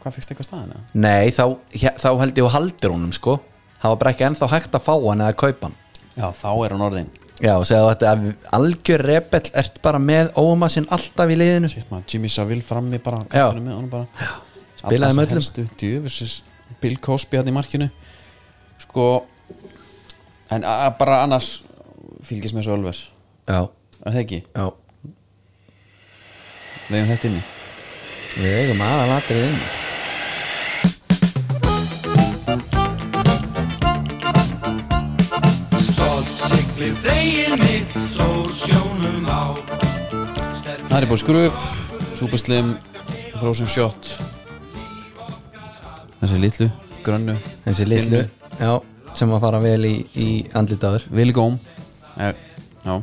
hvað fyrst eitthvað staðin? eða? nei, þá, he- þá held ég að haldir honum sko, það var bara ekki ennþá hægt að fá hann eða kaupa hann Já, þá er hann orðin já, og segja þetta að algjör rebell ert bara með Óemarsinn alltaf í liðinu Shit, maður, Jimmy Savile frammi bara, Já. kapteinum með honum bara Spilaði með öllum. djöfis, Bill Cosby hann í markinu sko en a- a- bara annars fylgist með þessu ölver já, að það ekki, já, við hefum þetta inni við eigum aðalatrið inn Stolt siglir veginn mitt Stór sjónum á Það er búið skruf, súperslim, frozen shot Þessi litlu, grönnu þessi litlu, Þinnu. já, sem að fara vel í, í andlitaður Viligóm Já, Eh, já,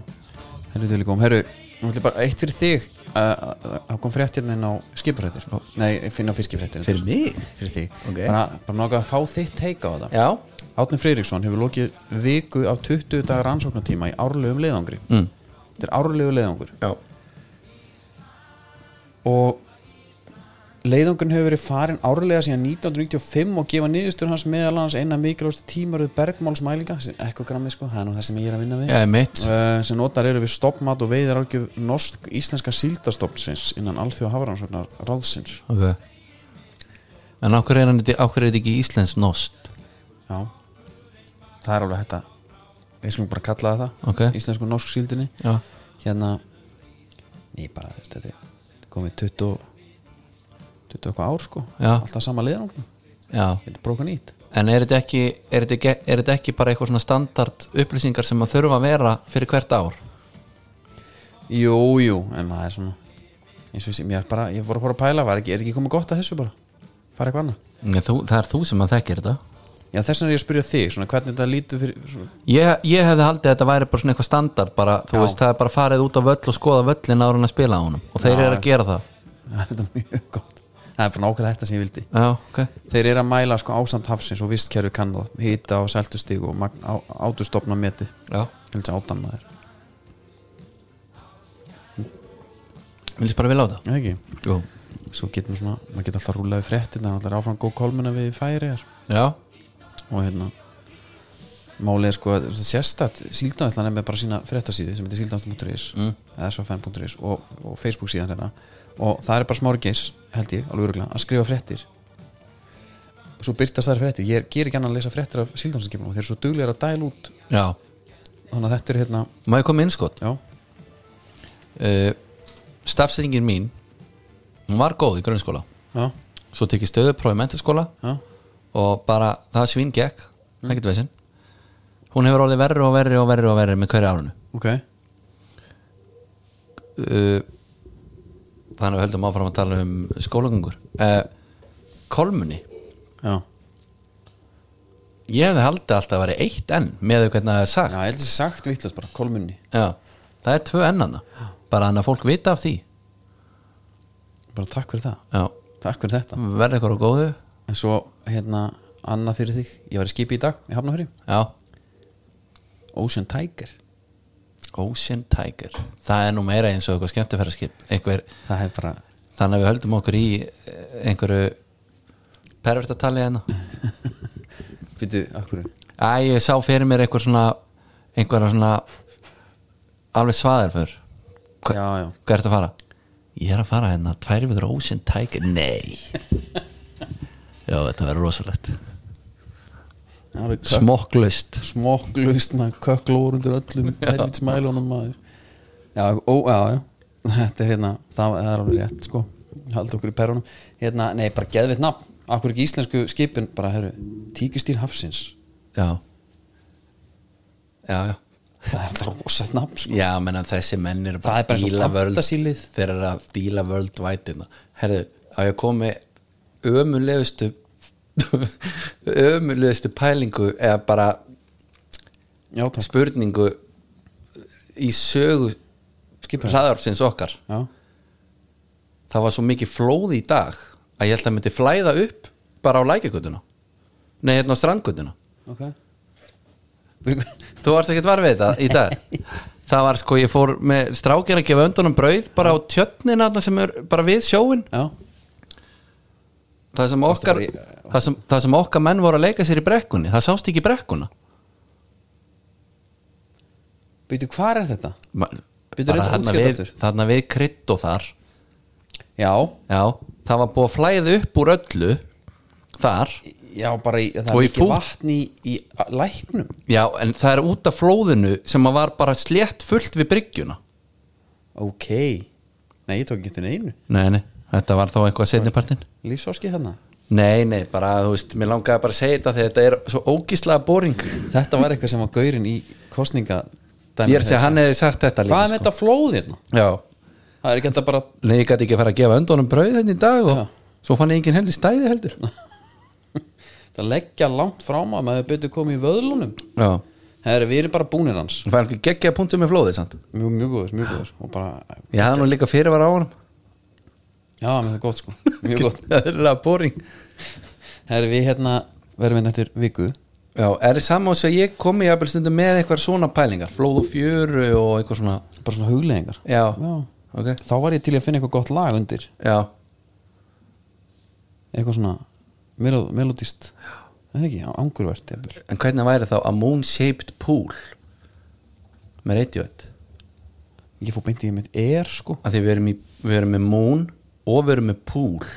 herru Viligóm Herru, nú ætlum bara eitt fyrir þig Það kom frétt hérna inn á skiprættir Nei, finna á fiskiprættir fyrir mig fyrir þig Ok. Bara, bara náttúrulega að fá þitt teika á þetta já, Átni Freiriksson hefur lokið viku af 20 dagar rannsóknartíma í árlegum leiðangri mm. Þetta er árlegu leiðangur já og leiðangurinn hefur verið farin árlega síðan 1995 og gefa niðurstur hans meðal hans eina mikilvægstu tímaröð bergmálsmælinga sem ekkogrammið sko, það er nú það sem ég er að vinna við Já, mitt uh, sem notar eru við stoppmat og veiðar álgjöf norsk íslenska síldastofnsins innan alþjóða hafaransvörnar ráðsins okay. En ákveð er, hann- á hverju er þetta ekki íslensk nost já, það er alveg þetta við skulum bara kalla það það Ok. íslensku norsk síldinni Já, hérna ég bara, veist, þetta er þetta er komið 20 20 eitthvað ár sko Já. alltaf sama leiðangur, já þetta er bróka nýtt En er þetta ekki, er þetta ekki, er þetta ekki bara eitthvað svona standard upplýsingar sem að þurfa að vera fyrir hvert ár? Jú, jú, en maður er svona eins og sem ég er bara, ég voru að fara að pæla var ekki, er ekki komið gott að þessu bara, fara eitthvað annað Ja, Þú, það er þú sem að þekkir þetta Já, þess vegna er ég að spyrja þig, svona hvernig þetta lítur fyrir svona, Ég, ég hefði haldið að þetta væri bara svona eitthvað standard bara, þú Já. veist, það er bara farið út á völl og skoða völlin ára en að spila á honum og þeir Já. eru að gera það það er þetta mjög gott Það er bara nákvæmlega þetta sem ég vildi Já, ok Þeir eru að mæla sko ástand hafsins og vistkerfi kannað, hýta og seltustig og magn, á, átustofna meti Já, Helds átan maður, viljist bara vilja á það? eða ekki? Jú Svo getum svona, maður geta alltaf rúlaði fréttin það er alltaf áfram góð kolmuna við færi Já, og hérna málið er sko að sérstætt síldanslan er með bara sína fréttasíði sem heitir síldanslan.is mm. eða sfn.is og, og Facebook síðan hérna og það er bara smári geis, held ég, alveg öruglega að skrifa fréttir og svo byrtast þær fréttir, ég er- ger ekki annan að lesa fréttir af síldanslanskepunum og þeir eru svo duglega að dæla út já þannig að þetta er hérna, Má ég koma með innskot? já, uh, stafsendingin mín hún var góð í grunnskóla já, svo tekið stöðupróf í mentaskóla já og bara það svín gekk það getur veisinn hún hefur orðið verri og verri og verri og verri með hverju árunu ok, uh, þannig að við höldum áfram að tala um skólagungur uh, kolmunni já ég hefði haldið alltaf að vera eitt enn með því hvernig það er Já, sagt ég held þessi sagt vittlust bara, kolmunni Já, það er tvö ennanna bara þannig að fólk vita af því bara takk fyrir það, Já, takk fyrir þetta verði ykkur á góðu en svo, hérna, annað fyrir þig ég var í skipi í dag, ég hafna fyrir Já, Ocean Tiger Ocean Tiger það er nú meira eins og eitthvað skemmtifæraskip einhver, það hefur bara þannig að við höldum okkur í eh, einhverju pervertatali hérna Býtu, akkur Æ, ég sá fyrir mér einhver svona einhverja svona alveg svaðir fyrr Hva, Já, já. hvað ertu að fara? Ég er að fara hérna, tvær vikur á Ocean Tiger Nei Já, þetta verður rosalegt Það eru kök- Smokklaust smokklaust maður kökklóður undir öllum helvitsmælunum maður já, ó, já, já þetta er hérna, það, það er alveg rétt sko haldi okkur í perunum hérna, nei, bara geðvitt nafn, akkur ekki íslensku skipin bara, herru, tíkistýr hafsins Já Já, já það er alltaf rosalt nafn sko Já, menna þessi menn eru Það bara er bara eins og díla völd fantasílið. þeir eru að díla völd vætina Herðu, að ég komi ömulegustu ömulegustu pælingu eða bara já, takk, spurningu í sögu skipin já, hlaðarfsins okkar já, það var svo mikið flóð í dag að ég held að myndi flæða upp bara á lækjagötuna nei, hérna á strandgötuna ok Þú varst ekkert var við þetta í dag Það var sko, ég fór með strákir að gefa öndunum brauð bara á tjötnin allar sem er bara við sjóin já, það sem, okkar, Varstu bara í- það, sem, það sem okkar menn voru að leika sér í brekkunni það sást ekki brekkuna veitu, hvar er þetta? Ma- Bíddu, bara reyndu að þarna útskýra við, þetta þarna við krydd og þar já, Já, það var búið að flæða upp úr öllu þar já, bara í, það er Og í mikið fú- vatn í, í læknum Já, en það er út af flóðinu sem að var bara slétt fullt við bryggjuna ok, nei, ég tók ekki þetta einu Nei, nei, þetta var þá eitthvað setnipartin lífsáskið hérna Nei, nei, bara, þú veist, mér langaði bara að segja þetta þegar þetta er svo ógíslega boring Þetta var eitthvað sem var gaurinn í kostninga Ég er að segja, hann hefði sagt þetta um líka sko. Hvað er með þetta flóð hérna? Já, Það er ekki þetta bara nei, ég gæti ekki að fara að gefa öndunum brauð þetta í dag og Já. svo fann ég engin heldur stæði heldur að leggja langt frá maður með að betur komið í vöðlunum Já, Það er, við erum bara búnir hans það var ekki geggja punktum með flóðið samt Mjög, mjög góður, mjög góður og bara, Ég hafði nú líka fyrirvara á honum já, mér það er gott sko Mjög gott Það er lega boring Það er, við hérna, verðum við eftir viku Já, er það saman sem ég komi jafnvel stundum með eitthvað svona pælingar Flóð og fjöru og eitthvað svona Bara svona hugleðingar Já, Já. ok Þá var ég til í að finna eitthvað gott lag undir Já, Eitthvað svona melo- melodíst Það er ekki, ángurvert jafnvel. en hvernig væri þá A Moon Shaped Pool með Radiohead Ég fór beint í mitt er sko að því við erum, í, við erum með moon og við erum með pool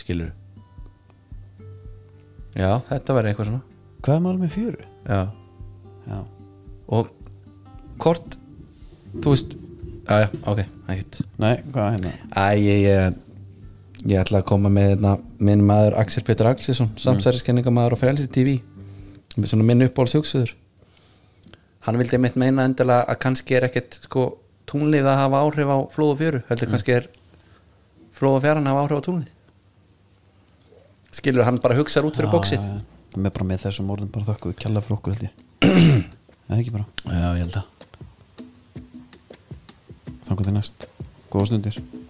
skilur já, þetta verður eitthvað svona Hvað er maður með fjöru? já. Já, og hvort þú veist, já, já, ok ekkert. nei, hvað er hérna? æ, ég, ég ég ætla að koma með hérna, minn maður Axel Pétur Axelsson samsæriskenningamaður og frelsi TV með svona minn uppáhalds hugsuður hann vildi mitt meina endilega að kannski er ekkert sko túnlið að hafa áhrif á flóð og fjöru heldur kannski er flóð og fjaran að hafa áhrif á túnlið skilur hann bara hugsar út fyrir Já, bóksið já, já. með bara með þessum orðum bara þakkuðu kjalla fyrir okkur held ég eða ekki bara, já, ég held að þangar til næst góða stundir